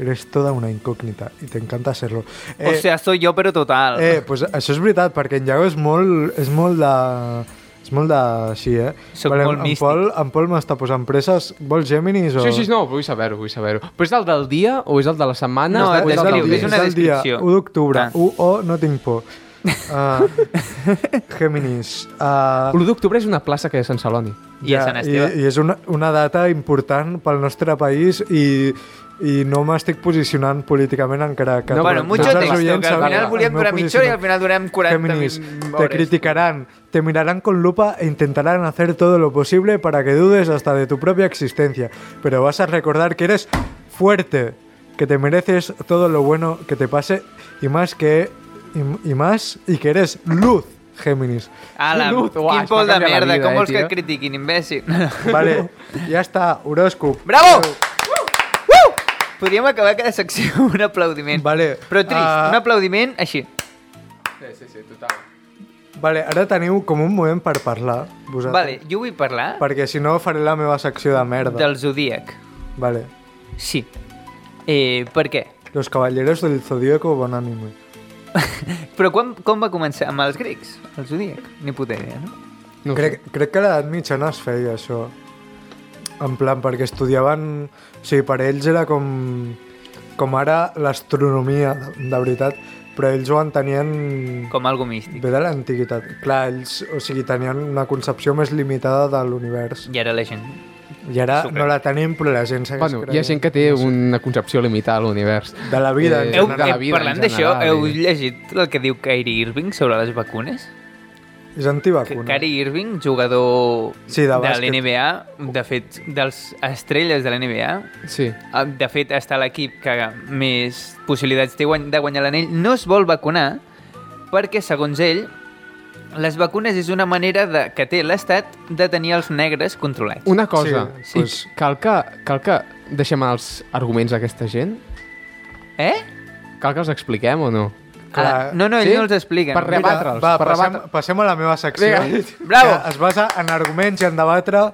Speaker 1: Eres toda una incógnita i t'encanta ser-lo.
Speaker 5: O sea, soy yo, pero total.
Speaker 1: Eh, pues això és veritat, perquè en Iago és molt, és molt de... És molt de... Sí, eh?
Speaker 5: Soc molt
Speaker 1: en, en
Speaker 5: místic.
Speaker 1: Pol, en Pol m'està posant presses. Vols Géminis o...?
Speaker 2: Sí, sí, no, vull saber-ho, vull saber-ho. Però és el del dia o és el de la setmana?
Speaker 5: No,
Speaker 2: o
Speaker 5: et
Speaker 2: és el del
Speaker 5: descriu,
Speaker 2: dia?
Speaker 5: és una
Speaker 1: el dia,
Speaker 5: descripció.
Speaker 1: 1 d'octubre.
Speaker 5: Ah.
Speaker 1: Ah. U, o, no tinc
Speaker 5: (laughs)
Speaker 1: por. Uh, Géminis. Uh,
Speaker 2: L'1 d'octubre és una plaça que és a Sant Celoni.
Speaker 5: I a Sant Esteve.
Speaker 1: I, i és una, una data important pel nostre país i, i no m'estic posicionant políticament encara que...
Speaker 2: No,
Speaker 5: bueno,
Speaker 2: però
Speaker 5: mucho
Speaker 2: tots els
Speaker 5: texto,
Speaker 2: oients
Speaker 5: que al
Speaker 2: saben
Speaker 5: final
Speaker 2: el
Speaker 5: volíem durar mitja hora i al final durem 40
Speaker 1: Géminis, te
Speaker 5: hores.
Speaker 1: criticarán, te mirarán con lupa e intentarán hacer todo lo posible para que dudes hasta de tu propia existencia, pero vas a recordar que eres fuerte, que te mereces todo lo bueno que te pase y más que y, y más y que eres luz, Géminis.
Speaker 5: Ala, pues
Speaker 2: Salut, uah,
Speaker 5: quin
Speaker 2: es va
Speaker 5: pol de
Speaker 2: canviar la
Speaker 5: merda,
Speaker 2: vida,
Speaker 5: com
Speaker 2: eh,
Speaker 5: vols que
Speaker 2: tio?
Speaker 5: et
Speaker 1: (laughs)
Speaker 5: critiquin, imbècil?
Speaker 1: Vale, ya está, Horoscope.
Speaker 5: Bravo! Uh! Podríem acabar cada secció amb un aplaudiment.
Speaker 1: Vale,
Speaker 5: Però trist,
Speaker 1: ah.
Speaker 5: un aplaudiment així.
Speaker 2: Sí, sí, sí, total.
Speaker 1: Vale, ara teniu com un moment per parlar, vosaltres.
Speaker 5: Vale, jo vull parlar
Speaker 1: Perquè si no faré la meva secció de merda.
Speaker 5: del Zodíac.
Speaker 1: Vale.
Speaker 5: Sí. Eh, per què?
Speaker 1: Los caballeros del Zodíaco, bon anime.
Speaker 5: Però quan, com va començar? Amb els grecs? El Zodíac? Ni puta idea, no?
Speaker 2: No ho sé.
Speaker 1: Crec, crec que a l'edat mitjana es feia això. En plan, perquè estudiaven... O sigui, per ells era com... Com ara l'astronomia, de, de veritat. Però ells ho entenien...
Speaker 5: Com algo místic.
Speaker 1: Ve de l'antiguitat. Clar, ells, o sigui, tenien una concepció més limitada de l'univers.
Speaker 5: I ara la gent...
Speaker 1: I ara no la tenim, però la gent segueix
Speaker 2: Bueno, hi ha
Speaker 1: creient.
Speaker 2: gent que té una concepció limitada a l'univers.
Speaker 1: De la vida, en
Speaker 2: Eh,
Speaker 5: Heu,
Speaker 2: de la
Speaker 5: eh,
Speaker 2: vida,
Speaker 5: parlant
Speaker 2: en
Speaker 5: d'això,
Speaker 2: general,
Speaker 5: heu
Speaker 2: i-
Speaker 5: llegit el que diu Kyrie Irving sobre les vacunes?
Speaker 1: És antivacuna.
Speaker 5: Kyrie Irving, jugador
Speaker 1: Sí, de
Speaker 5: de
Speaker 1: bàsquet.
Speaker 5: l'NBA, de fet, dels estrelles de l'NBA,
Speaker 2: Sí.
Speaker 5: Eh, de fet, està l'equip que més possibilitats té guany- de guanyar l'anell, no es vol vacunar perquè, segons ell, les vacunes és una manera de, que té l'Estat de tenir els negres controlats.
Speaker 2: Una cosa,
Speaker 1: Sí,
Speaker 2: sí,
Speaker 1: pues-
Speaker 2: sí. Cal, que, cal que deixem els arguments d'aquesta gent?
Speaker 5: Eh?
Speaker 2: Cal que els expliquem o no?
Speaker 5: Ah,
Speaker 1: Clar.
Speaker 5: no, no, ells
Speaker 2: Sí?
Speaker 5: no els expliquen.
Speaker 2: Per
Speaker 1: Mira,
Speaker 2: rebatre'ls,
Speaker 1: Va,
Speaker 2: per
Speaker 1: passem,
Speaker 2: rebatre-
Speaker 1: passem a la meva secció.
Speaker 2: Vinga. (laughs)
Speaker 5: Bravo.
Speaker 1: Que es basa en arguments i en debatre.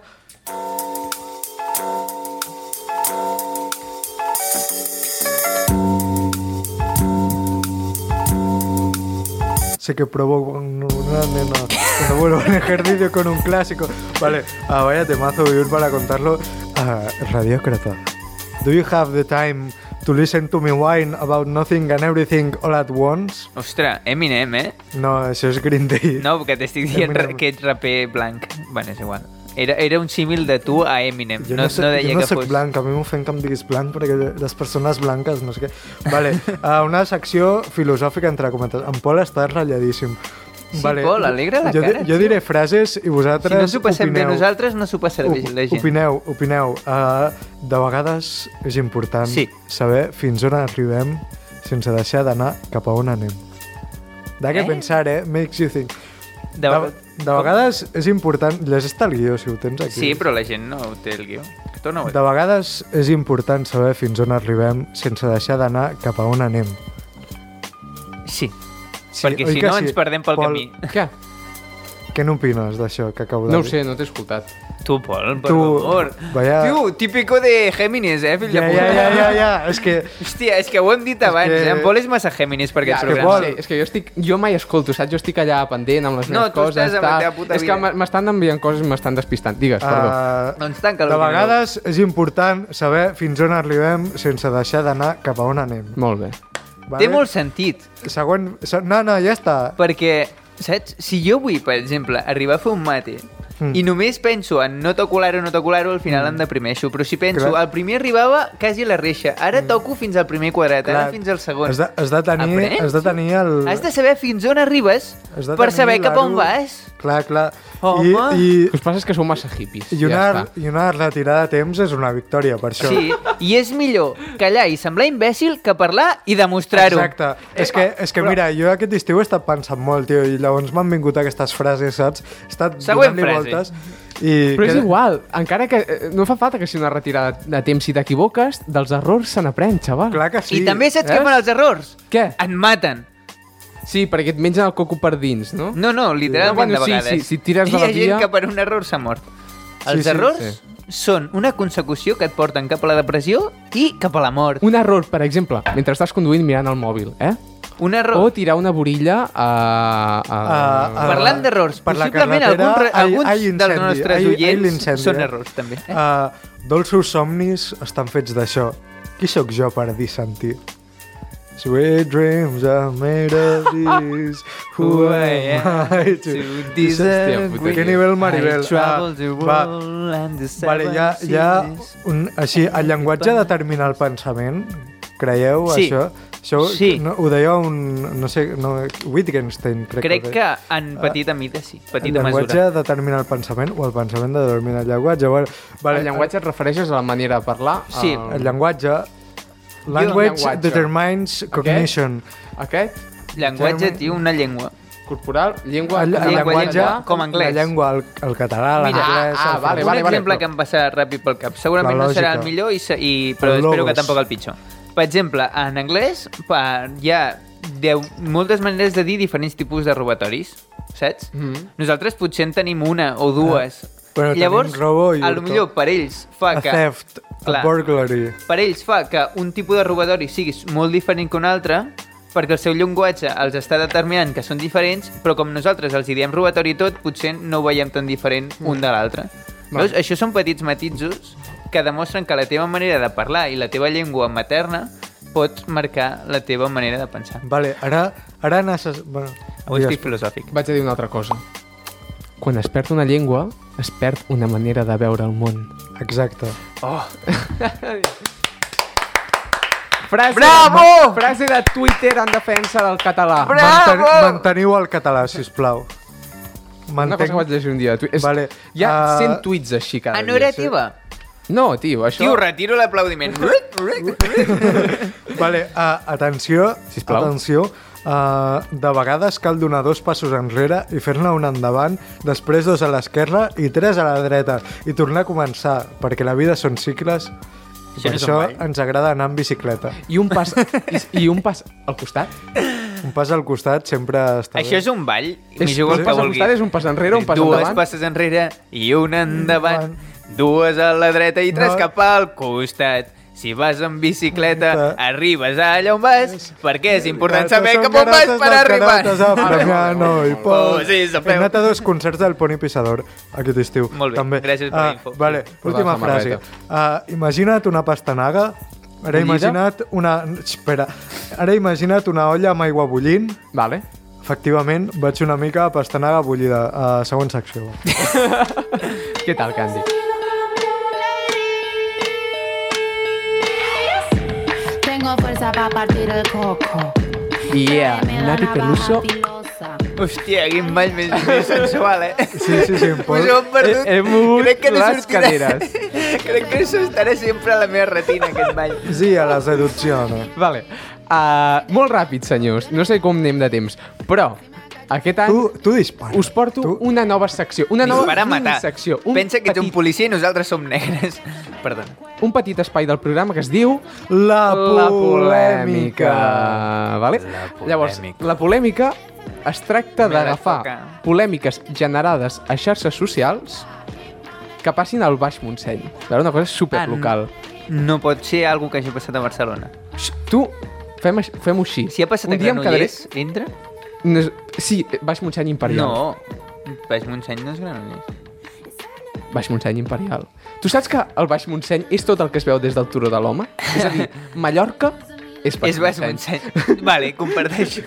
Speaker 1: Sé que provoco con una nena. Cuando vuelvo al ejercicio con un clásico. Vale, ah, vaya temazo vivir para contarlo. Ah, radiócrata. Do you have the time to listen to me whine about nothing and everything all at once?
Speaker 5: Ostres, Eminem, eh?
Speaker 1: No, això és Green Day.
Speaker 5: No, perquè t'estic dient
Speaker 1: Eminem.
Speaker 5: Eminem. que ets raper blanc. Bueno, és igual. Era, era un símil de tu a Eminem.
Speaker 1: Jo
Speaker 5: no,
Speaker 1: no, soc,
Speaker 5: no deia
Speaker 1: jo no
Speaker 5: que
Speaker 1: soc
Speaker 5: fos...
Speaker 1: blanc, a mi m'ofèn que em diguis blanc perquè les persones blanques, no sé què. Vale, (laughs) uh, una secció filosòfica entre cometes. En Pol està ratlladíssim.
Speaker 5: Sí, Pol, alegra la
Speaker 1: jo, di-
Speaker 5: cara,
Speaker 1: Jo diré frases i
Speaker 5: Si
Speaker 1: vosaltres
Speaker 5: no s'ho passem
Speaker 1: opineu.
Speaker 5: bé nosaltres, no s'ho passarà bé
Speaker 1: Op-
Speaker 5: la gent.
Speaker 1: Opineu, opineu. Uh, de vegades és important
Speaker 5: Sí.
Speaker 1: saber fins on arribem sense deixar d'anar cap a on anem. De què
Speaker 5: Eh?
Speaker 1: pensar, eh? Makes you think.
Speaker 5: De...
Speaker 1: de, de vegades és important... Llegeix el guió, si ho tens aquí.
Speaker 5: Sí, però la gent no ho té el guió. Que torna
Speaker 1: De vegades és important saber fins on arribem sense deixar d'anar cap a on anem.
Speaker 5: Sí,
Speaker 1: Sí,
Speaker 5: perquè
Speaker 1: oi
Speaker 5: si
Speaker 1: que
Speaker 5: no
Speaker 1: sí?
Speaker 5: ens perdem pel
Speaker 1: Pol,
Speaker 5: camí.
Speaker 2: Què?
Speaker 1: Què n'opines d'això que acabo de
Speaker 2: No ho
Speaker 1: dir?
Speaker 2: sé, no t'he escoltat.
Speaker 5: Tu, Pol, per
Speaker 1: Tu,
Speaker 5: favor.
Speaker 1: vaya-
Speaker 5: Tio, típico de Géminis, eh, fill
Speaker 1: Ja,
Speaker 5: de
Speaker 1: ja,
Speaker 5: puta.
Speaker 1: ja, ja, ja, és que...
Speaker 5: Hòstia, és que ho hem dit abans,
Speaker 1: que-
Speaker 5: eh? En Pol és massa Géminis per aquest
Speaker 1: que
Speaker 5: programa.
Speaker 1: vol-
Speaker 2: Sí, és que jo estic... Jo mai escolto, saps? Jo estic allà pendent amb les
Speaker 5: No,
Speaker 2: meves
Speaker 5: tu
Speaker 2: coses.
Speaker 5: estàs amb la
Speaker 2: tal.
Speaker 5: teva puta
Speaker 2: és que
Speaker 5: vida.
Speaker 2: m- m'estan enviant coses i m'estan despistant. Digues, perdó.
Speaker 1: ah,
Speaker 5: Doncs tanca
Speaker 1: de
Speaker 5: l'ordinador.
Speaker 1: vegades és important saber fins on arribem sense deixar d'anar cap a on anem.
Speaker 2: Molt bé.
Speaker 1: Vale?
Speaker 5: Té molt sentit,
Speaker 1: Següent... se- No, no, ja està.
Speaker 5: perquè, saps? Si jo vull, per exemple, arribar a fer un mate
Speaker 1: Mm.
Speaker 5: i només penso en no tocular-ho, no tocular-ho, al final em deprimeixo. Però si penso,
Speaker 1: Clar. Mm.
Speaker 5: al primer arribava quasi a la reixa, ara toco fins al primer quadrat, ara
Speaker 1: Clar,
Speaker 5: fins al segon.
Speaker 1: Has de, has de tenir,
Speaker 5: Aprens.
Speaker 1: has de tenir el...
Speaker 5: Has de saber fins on arribes
Speaker 1: has de
Speaker 5: per
Speaker 1: tenir
Speaker 5: saber cap on
Speaker 1: l'aro-
Speaker 5: vas.
Speaker 1: Clar, clar.
Speaker 5: Home.
Speaker 1: I,
Speaker 2: El que us passa és que sou massa hippies.
Speaker 1: i, i, una,
Speaker 2: ja està.
Speaker 1: I una retirada a temps és una victòria, per això.
Speaker 5: Sí, i és millor callar i semblar imbècil que parlar i demostrar-ho.
Speaker 1: Exacte.
Speaker 5: Eh,
Speaker 1: és que, és que mira, jo aquest estiu he estat pensant molt, tio, i llavors m'han vingut aquestes frases, saps? He estat
Speaker 5: Següent
Speaker 1: donant-li
Speaker 5: frase.
Speaker 1: voltes. I
Speaker 2: Però és
Speaker 1: que-
Speaker 2: igual, encara que eh, no fa falta que sigui una retirada de temps si t'equivoques, dels errors se n'aprèn, xaval.
Speaker 1: Clar que sí.
Speaker 5: I també saps què
Speaker 2: eh?
Speaker 5: fan els errors?
Speaker 2: Què?
Speaker 5: Et maten.
Speaker 2: Sí, perquè et mengen el coco per dins, no?
Speaker 5: No, no, literalment
Speaker 2: Bueno,
Speaker 5: de
Speaker 2: sí,
Speaker 5: vegades.
Speaker 2: sí, si tires de
Speaker 5: Hi ha
Speaker 2: la
Speaker 5: gent
Speaker 2: via-
Speaker 5: que per un error s'ha mort. Els
Speaker 1: sí,
Speaker 5: errors
Speaker 2: sí.
Speaker 5: són una consecució que et porten cap a la depressió i cap a la mort.
Speaker 2: Un error, per exemple, mentre estàs conduint mirant el mòbil, eh?
Speaker 5: Un error...
Speaker 1: Oh,
Speaker 2: O tirar una borilla a... a...
Speaker 1: A- a-
Speaker 5: Parlant d'errors,
Speaker 1: per la
Speaker 5: possiblement
Speaker 1: carretera,
Speaker 5: alguns re-
Speaker 1: ai-
Speaker 5: alguns
Speaker 1: ai,
Speaker 5: dels
Speaker 1: incendi,
Speaker 5: nostres
Speaker 1: ai- ai,
Speaker 5: oients
Speaker 1: l'incendi,
Speaker 5: són
Speaker 1: eh?
Speaker 5: errors, també, eh?
Speaker 1: Ah, dolços somnis estan fets d'això. Qui sóc jo per dir sentir? Sweet dreams are made of
Speaker 5: (laughs)
Speaker 1: this. Who
Speaker 5: eh?
Speaker 1: am I to...
Speaker 5: deserve
Speaker 2: puta,
Speaker 1: Que
Speaker 2: tio.
Speaker 1: nivell Maribel.
Speaker 5: I travel the
Speaker 1: Ah, va,
Speaker 5: world and the seven
Speaker 1: Vale, hi ha, hi ha
Speaker 5: seas.
Speaker 1: un, així, el llenguatge determina el pensament, creieu
Speaker 5: Sí.
Speaker 1: això? això
Speaker 5: Sí.
Speaker 1: No, ho deia un, no sé, no, Wittgenstein, crec,
Speaker 5: Crec
Speaker 1: ho
Speaker 5: que
Speaker 1: deia.
Speaker 5: en petita mida sí,
Speaker 1: El
Speaker 5: petita
Speaker 1: Ah. llenguatge
Speaker 5: mesura.
Speaker 1: determina el pensament o el pensament determina el llenguatge. Vale,
Speaker 2: Vale,
Speaker 1: vale,
Speaker 2: el llenguatge et refereixes a la manera de parlar?
Speaker 5: Sí.
Speaker 2: al-
Speaker 1: El llenguatge... Language
Speaker 2: llenguatge.
Speaker 1: determines cognition.
Speaker 2: Aquest,
Speaker 5: Llenguatge, tio, una llengua.
Speaker 2: corporal, llengua...
Speaker 1: El, el
Speaker 5: Llenguatge,
Speaker 1: llenguatge,
Speaker 5: llengua, com anglès.
Speaker 1: La llengua, el, el català,
Speaker 5: Mira,
Speaker 1: l'anglès...
Speaker 2: ah,
Speaker 1: el
Speaker 2: vale,
Speaker 1: francès.
Speaker 5: un exemple
Speaker 2: però-
Speaker 5: que em passa ràpid pel cap. Segurament
Speaker 1: La
Speaker 5: no serà el
Speaker 1: lògica.
Speaker 5: millor, i, se- i, però
Speaker 1: El
Speaker 5: espero
Speaker 1: logos.
Speaker 5: que tampoc el pitjor. Per exemple, en anglès pa, hi ha deu, moltes maneres de dir diferents tipus de robatoris, saps? Mm
Speaker 2: Mhm.
Speaker 5: Nosaltres potser en tenim una o dues.
Speaker 1: Ah, Però tenim
Speaker 5: Llavors,
Speaker 1: robo i
Speaker 5: a lo
Speaker 1: hurto.
Speaker 5: millor per ells fa
Speaker 1: A
Speaker 5: que...
Speaker 1: theft, a
Speaker 5: Clar.
Speaker 1: burglary.
Speaker 5: Per ells fa que un tipus de robatori sigui molt diferent que un altre, perquè el seu llenguatge els està determinant que són diferents, però com nosaltres els hi diem robatori i tot, potser no ho veiem tan diferent
Speaker 2: Mm.
Speaker 5: un de l'altre. Llavors, això són petits matisos que demostren que la teva manera de parlar i la teva llengua materna pot marcar la teva manera de pensar.
Speaker 1: Vale, ara, ara necess... Bueno,
Speaker 5: Avui
Speaker 1: digues.
Speaker 5: estic filosòfic.
Speaker 2: Vaig a dir una altra cosa. Quan es perd una llengua, es perd una manera de veure el món.
Speaker 1: Exacte.
Speaker 2: Frase,
Speaker 5: Bravo!
Speaker 2: Frase de Twitter en defensa del català.
Speaker 5: Bravo!
Speaker 1: Manten manteniu el català, si us plau.
Speaker 2: Una cosa que vaig llegir un dia. de Twitter. És-
Speaker 1: Vale,
Speaker 2: Hi ha
Speaker 1: ah,
Speaker 2: 100 tuits així cada
Speaker 5: Ah,
Speaker 2: dia.
Speaker 5: no era teva?
Speaker 2: No, tio, això...
Speaker 5: Tio, retiro l'aplaudiment.
Speaker 1: Vale, uh, atenció,
Speaker 2: Sisplau.
Speaker 1: atenció. Uh, de vegades cal donar dos passos enrere i fer-ne un endavant, després dos a l'esquerra i tres a la dreta, i tornar a començar, perquè la vida són cicles i
Speaker 5: Això
Speaker 1: per
Speaker 5: no és
Speaker 1: això
Speaker 5: un ball.
Speaker 1: ens agrada anar en bicicleta.
Speaker 2: I un pas, i, i un pas al costat.
Speaker 1: Un pas al costat sempre està
Speaker 5: Això
Speaker 1: bé.
Speaker 5: és un ball, m'hi
Speaker 2: És,
Speaker 5: jugo el
Speaker 2: un
Speaker 5: que
Speaker 2: pas al
Speaker 5: vulgui.
Speaker 2: costat, és un pas enrere, un pas
Speaker 5: dues
Speaker 2: endavant. Mm,
Speaker 5: passes enrere i una endavant. Dues a la dreta i tres
Speaker 1: No.
Speaker 5: cap al costat. Si vas en bicicleta,
Speaker 1: Bicicleta. arribes
Speaker 5: arribes allà on vas, perquè és important saber
Speaker 1: Són
Speaker 5: cap on vas
Speaker 1: garotes
Speaker 5: per
Speaker 1: dels
Speaker 5: arribar. Ah, oh,
Speaker 1: garotes a Premiano i Pou.
Speaker 5: Posis a
Speaker 1: He
Speaker 5: peu.
Speaker 1: anat a dos concerts del Poni Pissador aquest estiu.
Speaker 5: Molt bé,
Speaker 1: també. Ah,
Speaker 5: gràcies per la info.
Speaker 1: Vale,
Speaker 2: la
Speaker 1: última frase.
Speaker 2: samarreta.
Speaker 1: Uh, imagina't una pastanaga, ara
Speaker 2: Bullida?
Speaker 1: imagina't una... Espera. Ara imagina't una olla amb aigua bullint.
Speaker 2: Vale.
Speaker 1: Efectivament, vaig una mica a pastanaga bullida. Uh, següent secció.
Speaker 2: Què tal, Candy?
Speaker 6: Tengo fuerza para partir el coco.
Speaker 2: Yeah,
Speaker 6: Me da
Speaker 2: Nati
Speaker 6: navaja
Speaker 2: Peluso.
Speaker 6: filosa.
Speaker 5: Hòstia, quin ball més, més sensual, eh?
Speaker 1: Sí, sí, sí. Em
Speaker 5: Pues
Speaker 1: pot...
Speaker 5: ho hem perdut.
Speaker 2: He- he mogut
Speaker 5: Crec que no
Speaker 2: les
Speaker 5: sortirà.
Speaker 2: caderes.
Speaker 5: (laughs) Crec que això estarà sempre a la meva retina, aquest ball.
Speaker 1: Sí, a la seducció, no?
Speaker 2: Vale. Uh, molt ràpid, senyors. No sé com anem de temps, però aquest any
Speaker 1: Tu, tu dispara.
Speaker 2: us porto
Speaker 1: Tu-
Speaker 2: una nova secció. Una nova
Speaker 5: Dispara a matar.
Speaker 2: secció. Un
Speaker 5: Pensa que ets un
Speaker 2: petit-
Speaker 5: policia i nosaltres som negres. (laughs) Perdona.
Speaker 2: un petit espai del programa que es diu
Speaker 1: La
Speaker 2: La polèmica.
Speaker 1: polèmica.
Speaker 2: Vale?
Speaker 5: La polèmica.
Speaker 2: Llavors, la polèmica es tracta
Speaker 5: Me la toca.
Speaker 2: d'agafar polèmiques generades a xarxes socials que passin al Baix Montseny. Era una cosa superlocal.
Speaker 5: No pot ser algo que hagi passat a Barcelona.
Speaker 2: Xxt, Tu, fem, aix- fem-ho així.
Speaker 5: Si ha passat
Speaker 2: un
Speaker 5: a
Speaker 2: dia em quedaré...
Speaker 5: Granollers, entra?
Speaker 2: No, és- sí, Baix Montseny Imperial.
Speaker 5: No. Baix Montseny no és Granollers.
Speaker 2: Baix Montseny Imperial. Tu saps que el Baix Montseny és tot el que es veu des del Turó de l'Home? És a
Speaker 5: (laughs)
Speaker 2: dir, Mallorca és Baix
Speaker 5: és Baix Montseny. (laughs) vale, comparteixo.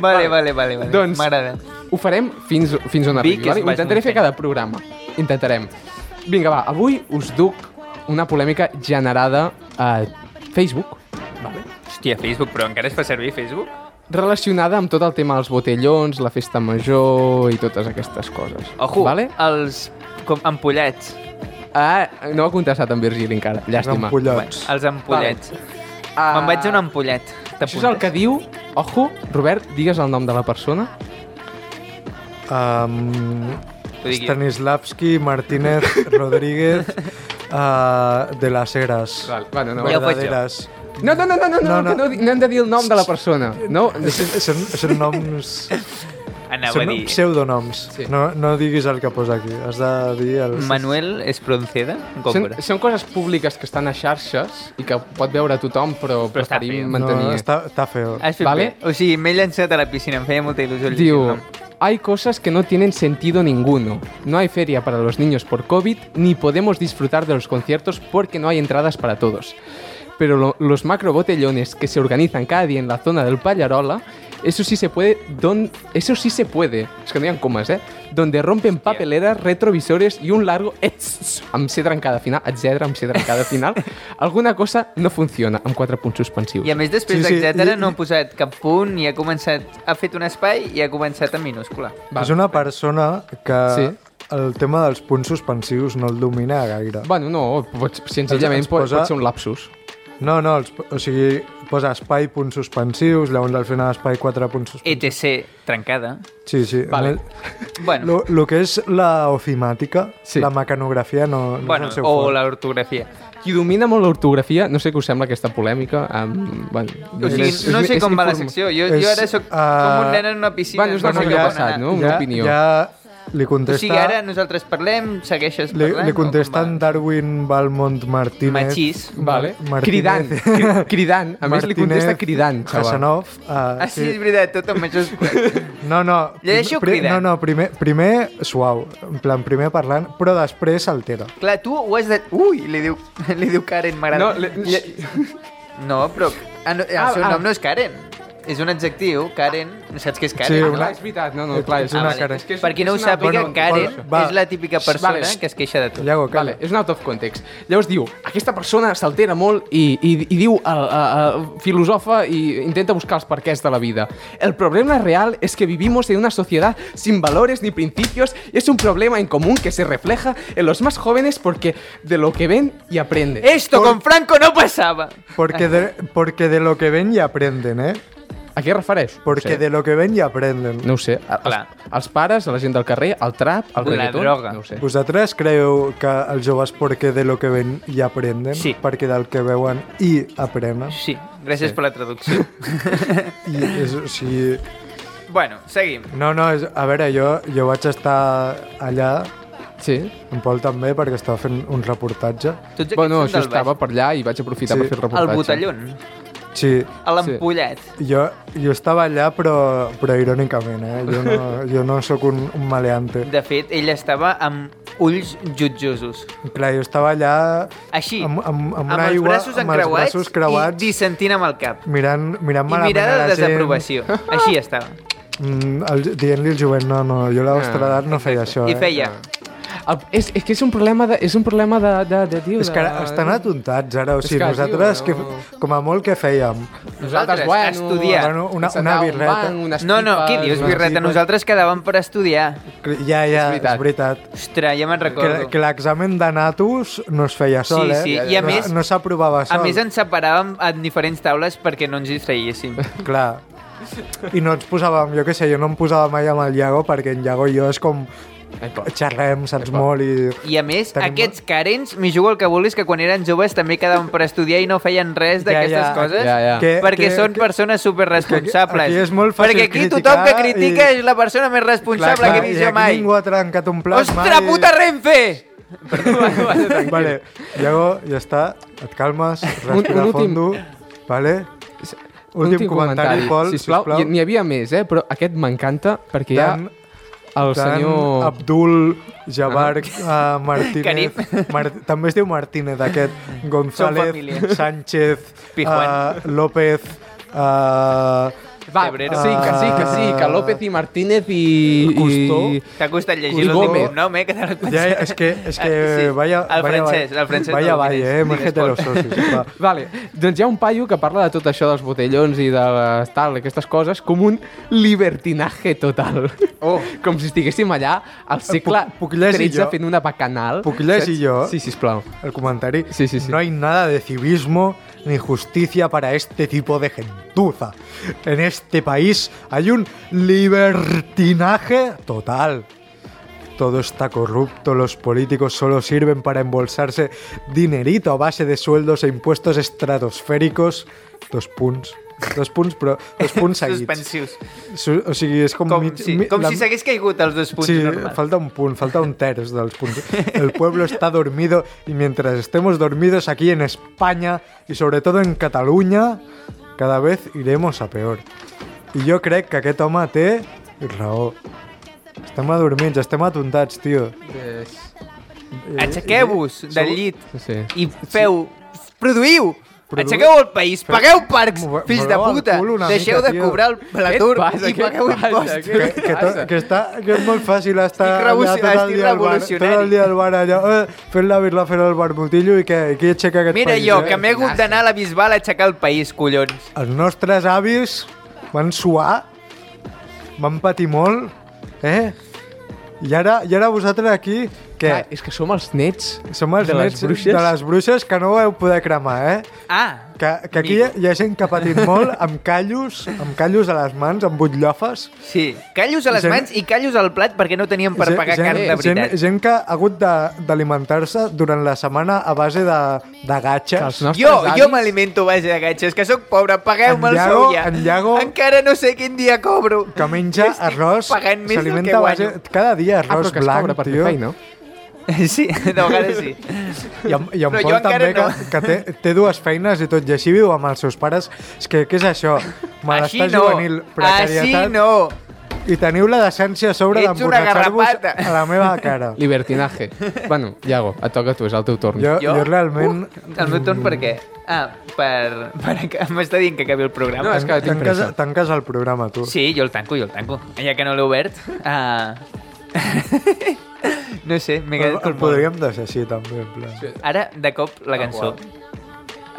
Speaker 5: vale, vale, vale. vale.
Speaker 2: Doncs-
Speaker 5: Eh, M'agrada.
Speaker 2: Ho farem fins, fins on arribi,
Speaker 5: Vic és
Speaker 2: vale?
Speaker 5: Baix
Speaker 2: Intentaré fer
Speaker 5: Montseny.
Speaker 2: cada programa. Intentarem. Vinga, va, avui us duc una polèmica generada a Facebook, vale?
Speaker 5: Hòstia, Facebook, però encara es fa servir Facebook?
Speaker 2: relacionada amb tot el tema dels botellons, la festa major i totes aquestes coses.
Speaker 5: Ojo,
Speaker 2: Vale?
Speaker 5: els com, ampollets.
Speaker 2: Ah, no ho ha contestat en Virgili encara, llàstima.
Speaker 1: Empollots.
Speaker 5: Els ampollets.
Speaker 2: Ah,
Speaker 5: Me'n vaig a un ampollet.
Speaker 2: Això és el que diu... Ojo, Robert, digues el nom de la persona.
Speaker 1: Um,
Speaker 5: Ho digui.
Speaker 1: Stanislavski,
Speaker 5: (laughs)
Speaker 1: Martínez, Rodríguez, uh, de las Heras.
Speaker 2: Val, bueno, no,
Speaker 5: Ja ho faig jo.
Speaker 1: Verdaderas.
Speaker 2: no, no, no, no, no, no, no,
Speaker 1: No, no.
Speaker 2: no, di- no hem de dir el nom de la persona. No,
Speaker 1: Són, són, són noms...
Speaker 5: Anava a
Speaker 1: Són
Speaker 5: dir...
Speaker 1: pseudonoms.
Speaker 2: Sí.
Speaker 1: No, no diguis el que posa aquí. Has de dir el...
Speaker 5: Manuel Espronceda,
Speaker 2: són,
Speaker 5: compra.
Speaker 2: són coses públiques que estan a xarxes i que pot veure tothom, però,
Speaker 5: Però està
Speaker 2: preferim
Speaker 5: feo.
Speaker 1: No,
Speaker 2: mantenir.
Speaker 1: està, està feo.
Speaker 5: Has fet
Speaker 2: Vale.
Speaker 5: vale. bé. O sigui, m'he llançat a la piscina, em feia molta il·lusió. llegir
Speaker 2: Diu,
Speaker 5: el nom.
Speaker 2: hay cosas que no tienen sentido ninguno. No hay feria para los niños por COVID, ni podemos disfrutar de los conciertos porque no hay entradas para todos. Pero lo- los macro botellones que se organizan cada día en la zona del Pallarola, eso sí se puede, don- eso sí se puede, es que no digan comas, ¿eh? Donde rompen papeleras, retrovisores y un largo... Ets, em amb C trencada final, em etcètera, amb C trencada
Speaker 5: (laughs)
Speaker 2: final, alguna cosa no funciona, amb quatre punts suspensius.
Speaker 5: I a més, després,
Speaker 1: Sí,
Speaker 5: sí,
Speaker 1: sí,
Speaker 5: sí,
Speaker 1: i-
Speaker 5: etcètera, no ha posat cap punt i ha començat... Ha fet un espai i ha començat en minúscula.
Speaker 2: Va.
Speaker 1: És una persona que
Speaker 2: Sí.
Speaker 1: el tema dels punts suspensius no el domina gaire.
Speaker 2: Bueno, no, pot, senzillament
Speaker 1: Ens
Speaker 2: pot,
Speaker 1: posa-
Speaker 2: pot ser un lapsus.
Speaker 1: No, no, els, o sigui, posa espai, punts suspensius, llavors al final espai, quatre punts suspensius.
Speaker 5: ETC E trencada.
Speaker 1: Sí, sí.
Speaker 2: Vale.
Speaker 5: Bueno,
Speaker 1: Lo, lo que és la ofimàtica,
Speaker 2: Sí.
Speaker 1: sí. la mecanografia, no, no
Speaker 5: bueno
Speaker 1: és el seu
Speaker 5: o
Speaker 1: fort.
Speaker 5: l'ortografia.
Speaker 2: Qui domina molt l'ortografia, no sé què us sembla aquesta polèmica, um, bueno,
Speaker 5: O sigui,
Speaker 2: és-
Speaker 5: no
Speaker 2: és-
Speaker 5: sé
Speaker 2: és
Speaker 5: com va la
Speaker 2: informa-
Speaker 5: secció. Jo,
Speaker 1: És,
Speaker 5: jo ara sóc com un
Speaker 1: eh,
Speaker 5: nen en una piscina.
Speaker 2: bueno, és una
Speaker 5: no sé
Speaker 2: cosa que
Speaker 5: què
Speaker 2: ha
Speaker 5: va
Speaker 2: passat,
Speaker 5: anar.
Speaker 2: no? Una opinió.
Speaker 1: Ja li contesta...
Speaker 5: O sigui, ara nosaltres parlem, segueixes
Speaker 1: Li,
Speaker 5: parlant...
Speaker 1: li contesten Darwin Balmont Martínez...
Speaker 5: Machís.
Speaker 2: Vale.
Speaker 1: Martínez-
Speaker 2: Cridant, cri- cridant. A més, li contesta cridant, xaval.
Speaker 1: Hasanov... Uh,
Speaker 5: Ah, sí, és veritat, tot amb això és...
Speaker 1: No, no.
Speaker 5: Llegeixo
Speaker 1: pri-
Speaker 5: cridant.
Speaker 1: No, no, primer, primer suau, en plan, primer parlant, però després s'altera.
Speaker 5: Clar, tu ho has de... Ui, li diu, (laughs) li diu Karen, m'agrada.
Speaker 2: No, le-
Speaker 5: no, però... Ah, no, el
Speaker 2: Ah,
Speaker 5: seu
Speaker 2: ah.
Speaker 5: nom no és Karen. És un adjectiu, Karen. No saps què és
Speaker 1: Sí,
Speaker 5: Karen?
Speaker 2: Ah,
Speaker 5: no?
Speaker 1: una-
Speaker 2: clar, és veritat, no, no, clar, és
Speaker 1: Ah,
Speaker 2: una
Speaker 1: vale.
Speaker 2: cara.
Speaker 1: És
Speaker 5: Per qui no ho sàpiga,
Speaker 1: bueno,
Speaker 5: Karen
Speaker 1: va.
Speaker 5: és la típica persona
Speaker 2: Vale.
Speaker 5: que es queixa de tot.
Speaker 1: Iago,
Speaker 2: Vale,
Speaker 1: Oh, calla.
Speaker 2: és un out of context. Llavors diu, aquesta persona s'altera molt i, i, i diu, a, a, a, filosofa i intenta buscar els perquès de la vida. El problema real es que vivimos en una sociedad sin valores ni principios y es un problema en común que se refleja en los más jóvenes porque de lo que ven y aprenden.
Speaker 5: Esto con Franco no pasaba.
Speaker 1: Porque de, porque de lo que ven y aprenden, eh?
Speaker 2: A què es refereix?
Speaker 1: Porque
Speaker 2: no, ho sé.
Speaker 1: de lo que ven ya aprenden.
Speaker 2: no ho sé. A-
Speaker 5: Clar.
Speaker 2: Els, els pares, la gent del carrer, el trap, el
Speaker 5: La
Speaker 2: reggaeton...
Speaker 5: droga.
Speaker 2: No ho sé.
Speaker 1: Vosaltres creu que els joves perquè de lo que ven ja aprenden?
Speaker 5: Sí.
Speaker 1: Perquè del que veuen i aprenen?
Speaker 5: Sí, gràcies sí. per la traducció.
Speaker 1: (laughs) I és, o sigui...
Speaker 5: bueno, seguim.
Speaker 1: No, no, és, a veure, jo, jo vaig estar allà,
Speaker 2: Sí.
Speaker 1: en Pol també, perquè estava fent un reportatge.
Speaker 5: Tots aquests
Speaker 2: Bueno,
Speaker 5: són
Speaker 2: això
Speaker 5: del
Speaker 2: estava
Speaker 5: baix.
Speaker 2: per allà i vaig aprofitar
Speaker 1: Sí.
Speaker 2: per fer el
Speaker 5: Al
Speaker 2: reportatge.
Speaker 5: botellón,
Speaker 1: Sí,
Speaker 5: a l'empollat. Sí.
Speaker 1: jo, jo estava allà, però, però irònicament, eh? Jo
Speaker 5: (laughs)
Speaker 1: no, jo no sóc un, un maleante.
Speaker 5: De fet, ell estava amb ulls jutjosos.
Speaker 1: Clar, jo estava allà
Speaker 5: Així,
Speaker 1: amb, amb, amb,
Speaker 5: amb
Speaker 1: una
Speaker 5: els
Speaker 1: aigua,
Speaker 5: braços
Speaker 1: amb els
Speaker 5: encreuats
Speaker 1: braços creuats,
Speaker 5: i dissentint amb el cap.
Speaker 1: mirant, mirant
Speaker 5: I
Speaker 1: malament
Speaker 5: mirada
Speaker 1: a
Speaker 5: de
Speaker 1: la gent, (laughs)
Speaker 5: desaprovació. Així estava.
Speaker 1: mm, el- dient-li al jovent, no, no, jo a la vostra
Speaker 2: Ah,
Speaker 1: edat no feia això.
Speaker 5: I
Speaker 1: eh?
Speaker 5: feia...
Speaker 2: El, Ah, és, és que és un problema de... És un problema de... de, de tio,
Speaker 1: És que ara
Speaker 2: de-
Speaker 1: estan atontats, ara. O
Speaker 2: És
Speaker 1: sigui,
Speaker 2: que, tio,
Speaker 1: nosaltres, que,
Speaker 2: no.
Speaker 1: com a molt, que fèiem?
Speaker 2: Nosaltres,
Speaker 5: Nosaltres,
Speaker 2: bueno...
Speaker 5: estudiar.
Speaker 1: Bueno, una-
Speaker 2: sentar
Speaker 1: una
Speaker 2: a un
Speaker 1: birreta.
Speaker 2: banc, unes
Speaker 5: No, no,
Speaker 2: pipes,
Speaker 5: què dius,
Speaker 2: unes-
Speaker 5: Birreta? Nosaltres quedàvem per estudiar.
Speaker 1: Ja, ja,
Speaker 2: És
Speaker 1: és
Speaker 2: veritat.
Speaker 1: veritat. És veritat.
Speaker 5: Ostres, ja me'n
Speaker 1: Que,
Speaker 5: recordo.
Speaker 1: que l'examen de natus no es feia
Speaker 5: Sí,
Speaker 1: sol, eh?
Speaker 5: sí, i a
Speaker 1: no,
Speaker 5: més-
Speaker 1: No s'aprovava
Speaker 5: A
Speaker 1: sol.
Speaker 5: més, ens separàvem en diferents taules perquè no ens distraïéssim.
Speaker 1: Clar. I no ens posàvem, jo què sé, jo no em posava mai amb el Iago perquè en Iago i jo és com
Speaker 2: Ai, pa.
Speaker 1: xerrem, saps molt i...
Speaker 5: I a més,
Speaker 1: Tenim-
Speaker 5: aquests carents, m'hi jugo el que vulguis, que quan eren joves també quedaven per estudiar i no feien res d'aquestes
Speaker 1: ja.
Speaker 5: coses,
Speaker 2: Ja, ja.
Speaker 1: Que-
Speaker 5: perquè
Speaker 1: que-
Speaker 5: són
Speaker 1: que-
Speaker 5: persones
Speaker 1: que
Speaker 5: superresponsables.
Speaker 1: aquí és molt fàcil
Speaker 5: perquè aquí tothom que
Speaker 1: criticar i-
Speaker 5: critica és la persona més responsable que he
Speaker 1: i
Speaker 5: vist jo
Speaker 1: aquí
Speaker 5: mai.
Speaker 1: ningú ha trencat un plat
Speaker 5: Ostres,
Speaker 1: mai. (laughs)
Speaker 5: puta Renfe! Perdó, va, va, tranquil.
Speaker 1: Vale, Iago, ja està, et calmes,
Speaker 2: Un-
Speaker 1: respira
Speaker 2: un últim-
Speaker 1: fondo, vale? Últim, comentari, Pol,
Speaker 2: sisplau.
Speaker 1: sisplau.
Speaker 2: I- N'hi havia més, eh? Però aquest m'encanta perquè hi ha
Speaker 1: Tant-
Speaker 2: el senyor...
Speaker 1: Abdul Jabbar uh, Martínez.
Speaker 5: Carib.
Speaker 1: Mar també es diu Martínez, aquest.
Speaker 5: família.
Speaker 1: González, Sánchez,
Speaker 5: Pijuan.
Speaker 1: uh, López... Uh,
Speaker 2: Va,
Speaker 5: Febrero.
Speaker 2: sí, que sí, que sí,
Speaker 1: Ah.
Speaker 2: que López i Martínez i...
Speaker 1: Custó.
Speaker 2: I...
Speaker 5: T'ha costat llegir
Speaker 2: Cusbó.
Speaker 5: l'últim cognom, eh? Que te l'he
Speaker 1: ja,
Speaker 5: pensat.
Speaker 1: és que, és que
Speaker 5: Ah, sí.
Speaker 1: vaya,
Speaker 5: El
Speaker 1: vaya,
Speaker 5: francès, el francès.
Speaker 1: Vaya,
Speaker 5: no,
Speaker 1: vaya,
Speaker 5: digues,
Speaker 1: eh?
Speaker 5: digues,
Speaker 1: Mejete
Speaker 5: Pol.
Speaker 1: los socios. Va.
Speaker 2: Vale, doncs hi ha un paio que parla de tot això dels botellons i de les- tal, aquestes coses, com un libertinatge total.
Speaker 5: Oh.
Speaker 2: Com si estiguéssim allà al segle
Speaker 1: Eh, puc llegir
Speaker 2: XIII
Speaker 1: jo?
Speaker 2: fent una bacanal.
Speaker 1: Puc llegir
Speaker 2: saps?
Speaker 1: jo?
Speaker 2: Sí, sisplau.
Speaker 1: El comentario.
Speaker 2: Sí, sí, sí.
Speaker 1: No hay nada de civismo ni justicia para este tipo de gentuza. En este país hay un libertinaje total. Todo está corrupto, los políticos solo sirven para embolsarse dinerito a base de sueldos e impuestos estratosféricos. Dos punts. Dos punts, però dos punts seguits.
Speaker 5: Suspensius.
Speaker 1: Su- O sigui, és com...
Speaker 5: Com,
Speaker 1: mig-
Speaker 5: si,
Speaker 1: mi-
Speaker 5: com
Speaker 1: la-
Speaker 5: si s'hagués caigut els dos punts
Speaker 1: Sí,
Speaker 5: normals.
Speaker 1: falta un punto, falta un tercio de los puntos. El pueblo está dormido y mientras estemos dormidos aquí en España y sobre todo en Cataluña, cada vez iremos a peor. Y yo creo que aquest home té raó. Estem adormits, estem atontats, tio.
Speaker 5: Aixequeu-vos del
Speaker 1: Sou-
Speaker 5: llit
Speaker 2: Sí, sí.
Speaker 5: i feu... Produïu!
Speaker 1: Produ-
Speaker 5: Aixequeu el país,
Speaker 1: Però-
Speaker 5: pagueu parcs,
Speaker 1: Move-
Speaker 5: fills de
Speaker 1: moveu el
Speaker 5: puta,
Speaker 1: cul una
Speaker 5: deixeu
Speaker 1: mica,
Speaker 5: de
Speaker 1: tio.
Speaker 5: cobrar el- l'atur
Speaker 2: passa?
Speaker 5: i
Speaker 2: Què
Speaker 5: pagueu
Speaker 2: passa?
Speaker 5: impostos.
Speaker 2: Què-
Speaker 1: Que, que, to,
Speaker 2: passa?
Speaker 1: que, està, que és molt fàcil estar
Speaker 5: Estic
Speaker 1: allà
Speaker 5: revolucio-
Speaker 1: tot el
Speaker 5: estic
Speaker 1: dia al bar, tot
Speaker 5: revolucionari.
Speaker 1: el dia al bar allà, eh, fent la birla, fent el barbotillo i que, i qui aixeca aquest
Speaker 5: Mira
Speaker 1: país.
Speaker 5: jo,
Speaker 1: eh?
Speaker 5: que m'he hagut d'anar a la Bisbal a aixecar el país, collons.
Speaker 1: els nostres avis van suar, van patir molt, eh? I ara, i ara vosaltres aquí, què?
Speaker 2: Clar, és que som els nets.
Speaker 1: Som els
Speaker 2: de les
Speaker 1: nets
Speaker 2: bruixes?
Speaker 1: de les bruixes que no vau poder cremar, eh?
Speaker 5: Ah,
Speaker 1: Que, que aquí hi ha, hi ha gent que ha patit molt amb callos, amb callos a les mans, amb butllofes.
Speaker 5: sí. Callos a les
Speaker 1: Gent-
Speaker 5: mans i callos al plat perquè no teníem per
Speaker 1: Gent-
Speaker 5: pagar
Speaker 1: gent,
Speaker 5: carn de
Speaker 1: gent,
Speaker 5: veritat.
Speaker 1: gent que ha hagut de- d'alimentar-se durant la setmana a base de, de
Speaker 2: Que els
Speaker 1: gatxes.
Speaker 2: nostres
Speaker 5: Jo,
Speaker 2: avis...
Speaker 5: jo m'alimento a base de gatxes, que sóc pobre, pagueu-me
Speaker 1: En
Speaker 5: el
Speaker 1: Iago-
Speaker 5: sou ja.
Speaker 1: en Iago-
Speaker 5: Encara no sé quin dia cobro.
Speaker 1: que menja
Speaker 5: Estic
Speaker 1: arròs,
Speaker 5: pagant més del que
Speaker 1: s'alimenta a base...
Speaker 5: guanyo.
Speaker 1: Cada dia
Speaker 2: Ah,
Speaker 1: arròs
Speaker 2: però que es
Speaker 1: blanc,
Speaker 2: cobra per fer
Speaker 1: tio.
Speaker 2: feina.
Speaker 5: (laughs) Sí, de
Speaker 1: (laughs)
Speaker 5: vegades sí.
Speaker 1: I en, i en
Speaker 5: Però
Speaker 1: Pol
Speaker 5: jo encara
Speaker 1: també, que,
Speaker 5: no.
Speaker 1: que té, té dues feines i tot, i així viu amb els seus pares. És que, què és això?
Speaker 5: Així
Speaker 1: Malestar
Speaker 5: no,
Speaker 1: juvenil,
Speaker 5: així
Speaker 1: precarietat...
Speaker 5: no.
Speaker 1: I teniu la decència a sobre
Speaker 5: Ets una
Speaker 1: d'emborratxar-vos
Speaker 5: garrapata.
Speaker 1: a la meva cara. (laughs)
Speaker 2: Libertinatge. bueno, Iago, et toca a tu, és el teu torn.
Speaker 1: Jo,
Speaker 5: Jo?
Speaker 1: jo realment...
Speaker 5: Uh, el meu torn per què? Ah, per... per que- (laughs) M'està dient que acabi el programa?
Speaker 2: No, és que tinc
Speaker 1: Mm, tanques,
Speaker 2: pressa.
Speaker 1: tanques el programa, tu.
Speaker 5: Sí, jo el tanco, jo el tanco. Ja que no l'he obert... Ah... (laughs) no sé, m'he
Speaker 1: el,
Speaker 5: quedat
Speaker 1: el
Speaker 5: com
Speaker 1: podríem deixar així, també, en plan.
Speaker 2: Sí.
Speaker 5: Ara, de cop,
Speaker 2: Ah,
Speaker 5: la cançó.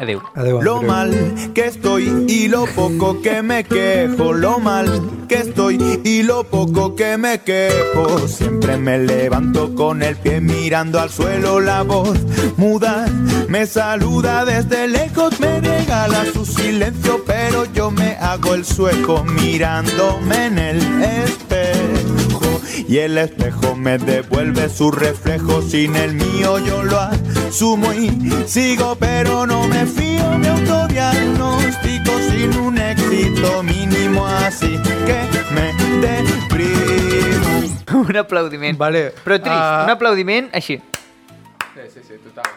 Speaker 5: Adéu. (laughs)
Speaker 1: Adéu,
Speaker 4: Lo
Speaker 1: Andreu.
Speaker 4: mal que estoy y lo poco que me quejo. Lo mal que estoy y lo poco que me quejo. Siempre me levanto con el pie mirando al suelo. La voz muda me saluda desde lejos. Me regala su silencio. silencio, pero yo me hago el sueco mirándome en el espejo. Y el espejo me devuelve su reflejo, sin el mío yo lo asumo y sigo, pero no me fío, me autodiagnóstico sin un éxito mínimo, así que me deprimo.
Speaker 5: Un aplaudiment.
Speaker 1: Vale.
Speaker 5: Però trist,
Speaker 1: Ah.
Speaker 5: un aplaudiment així.
Speaker 7: Sí, sí, sí, total.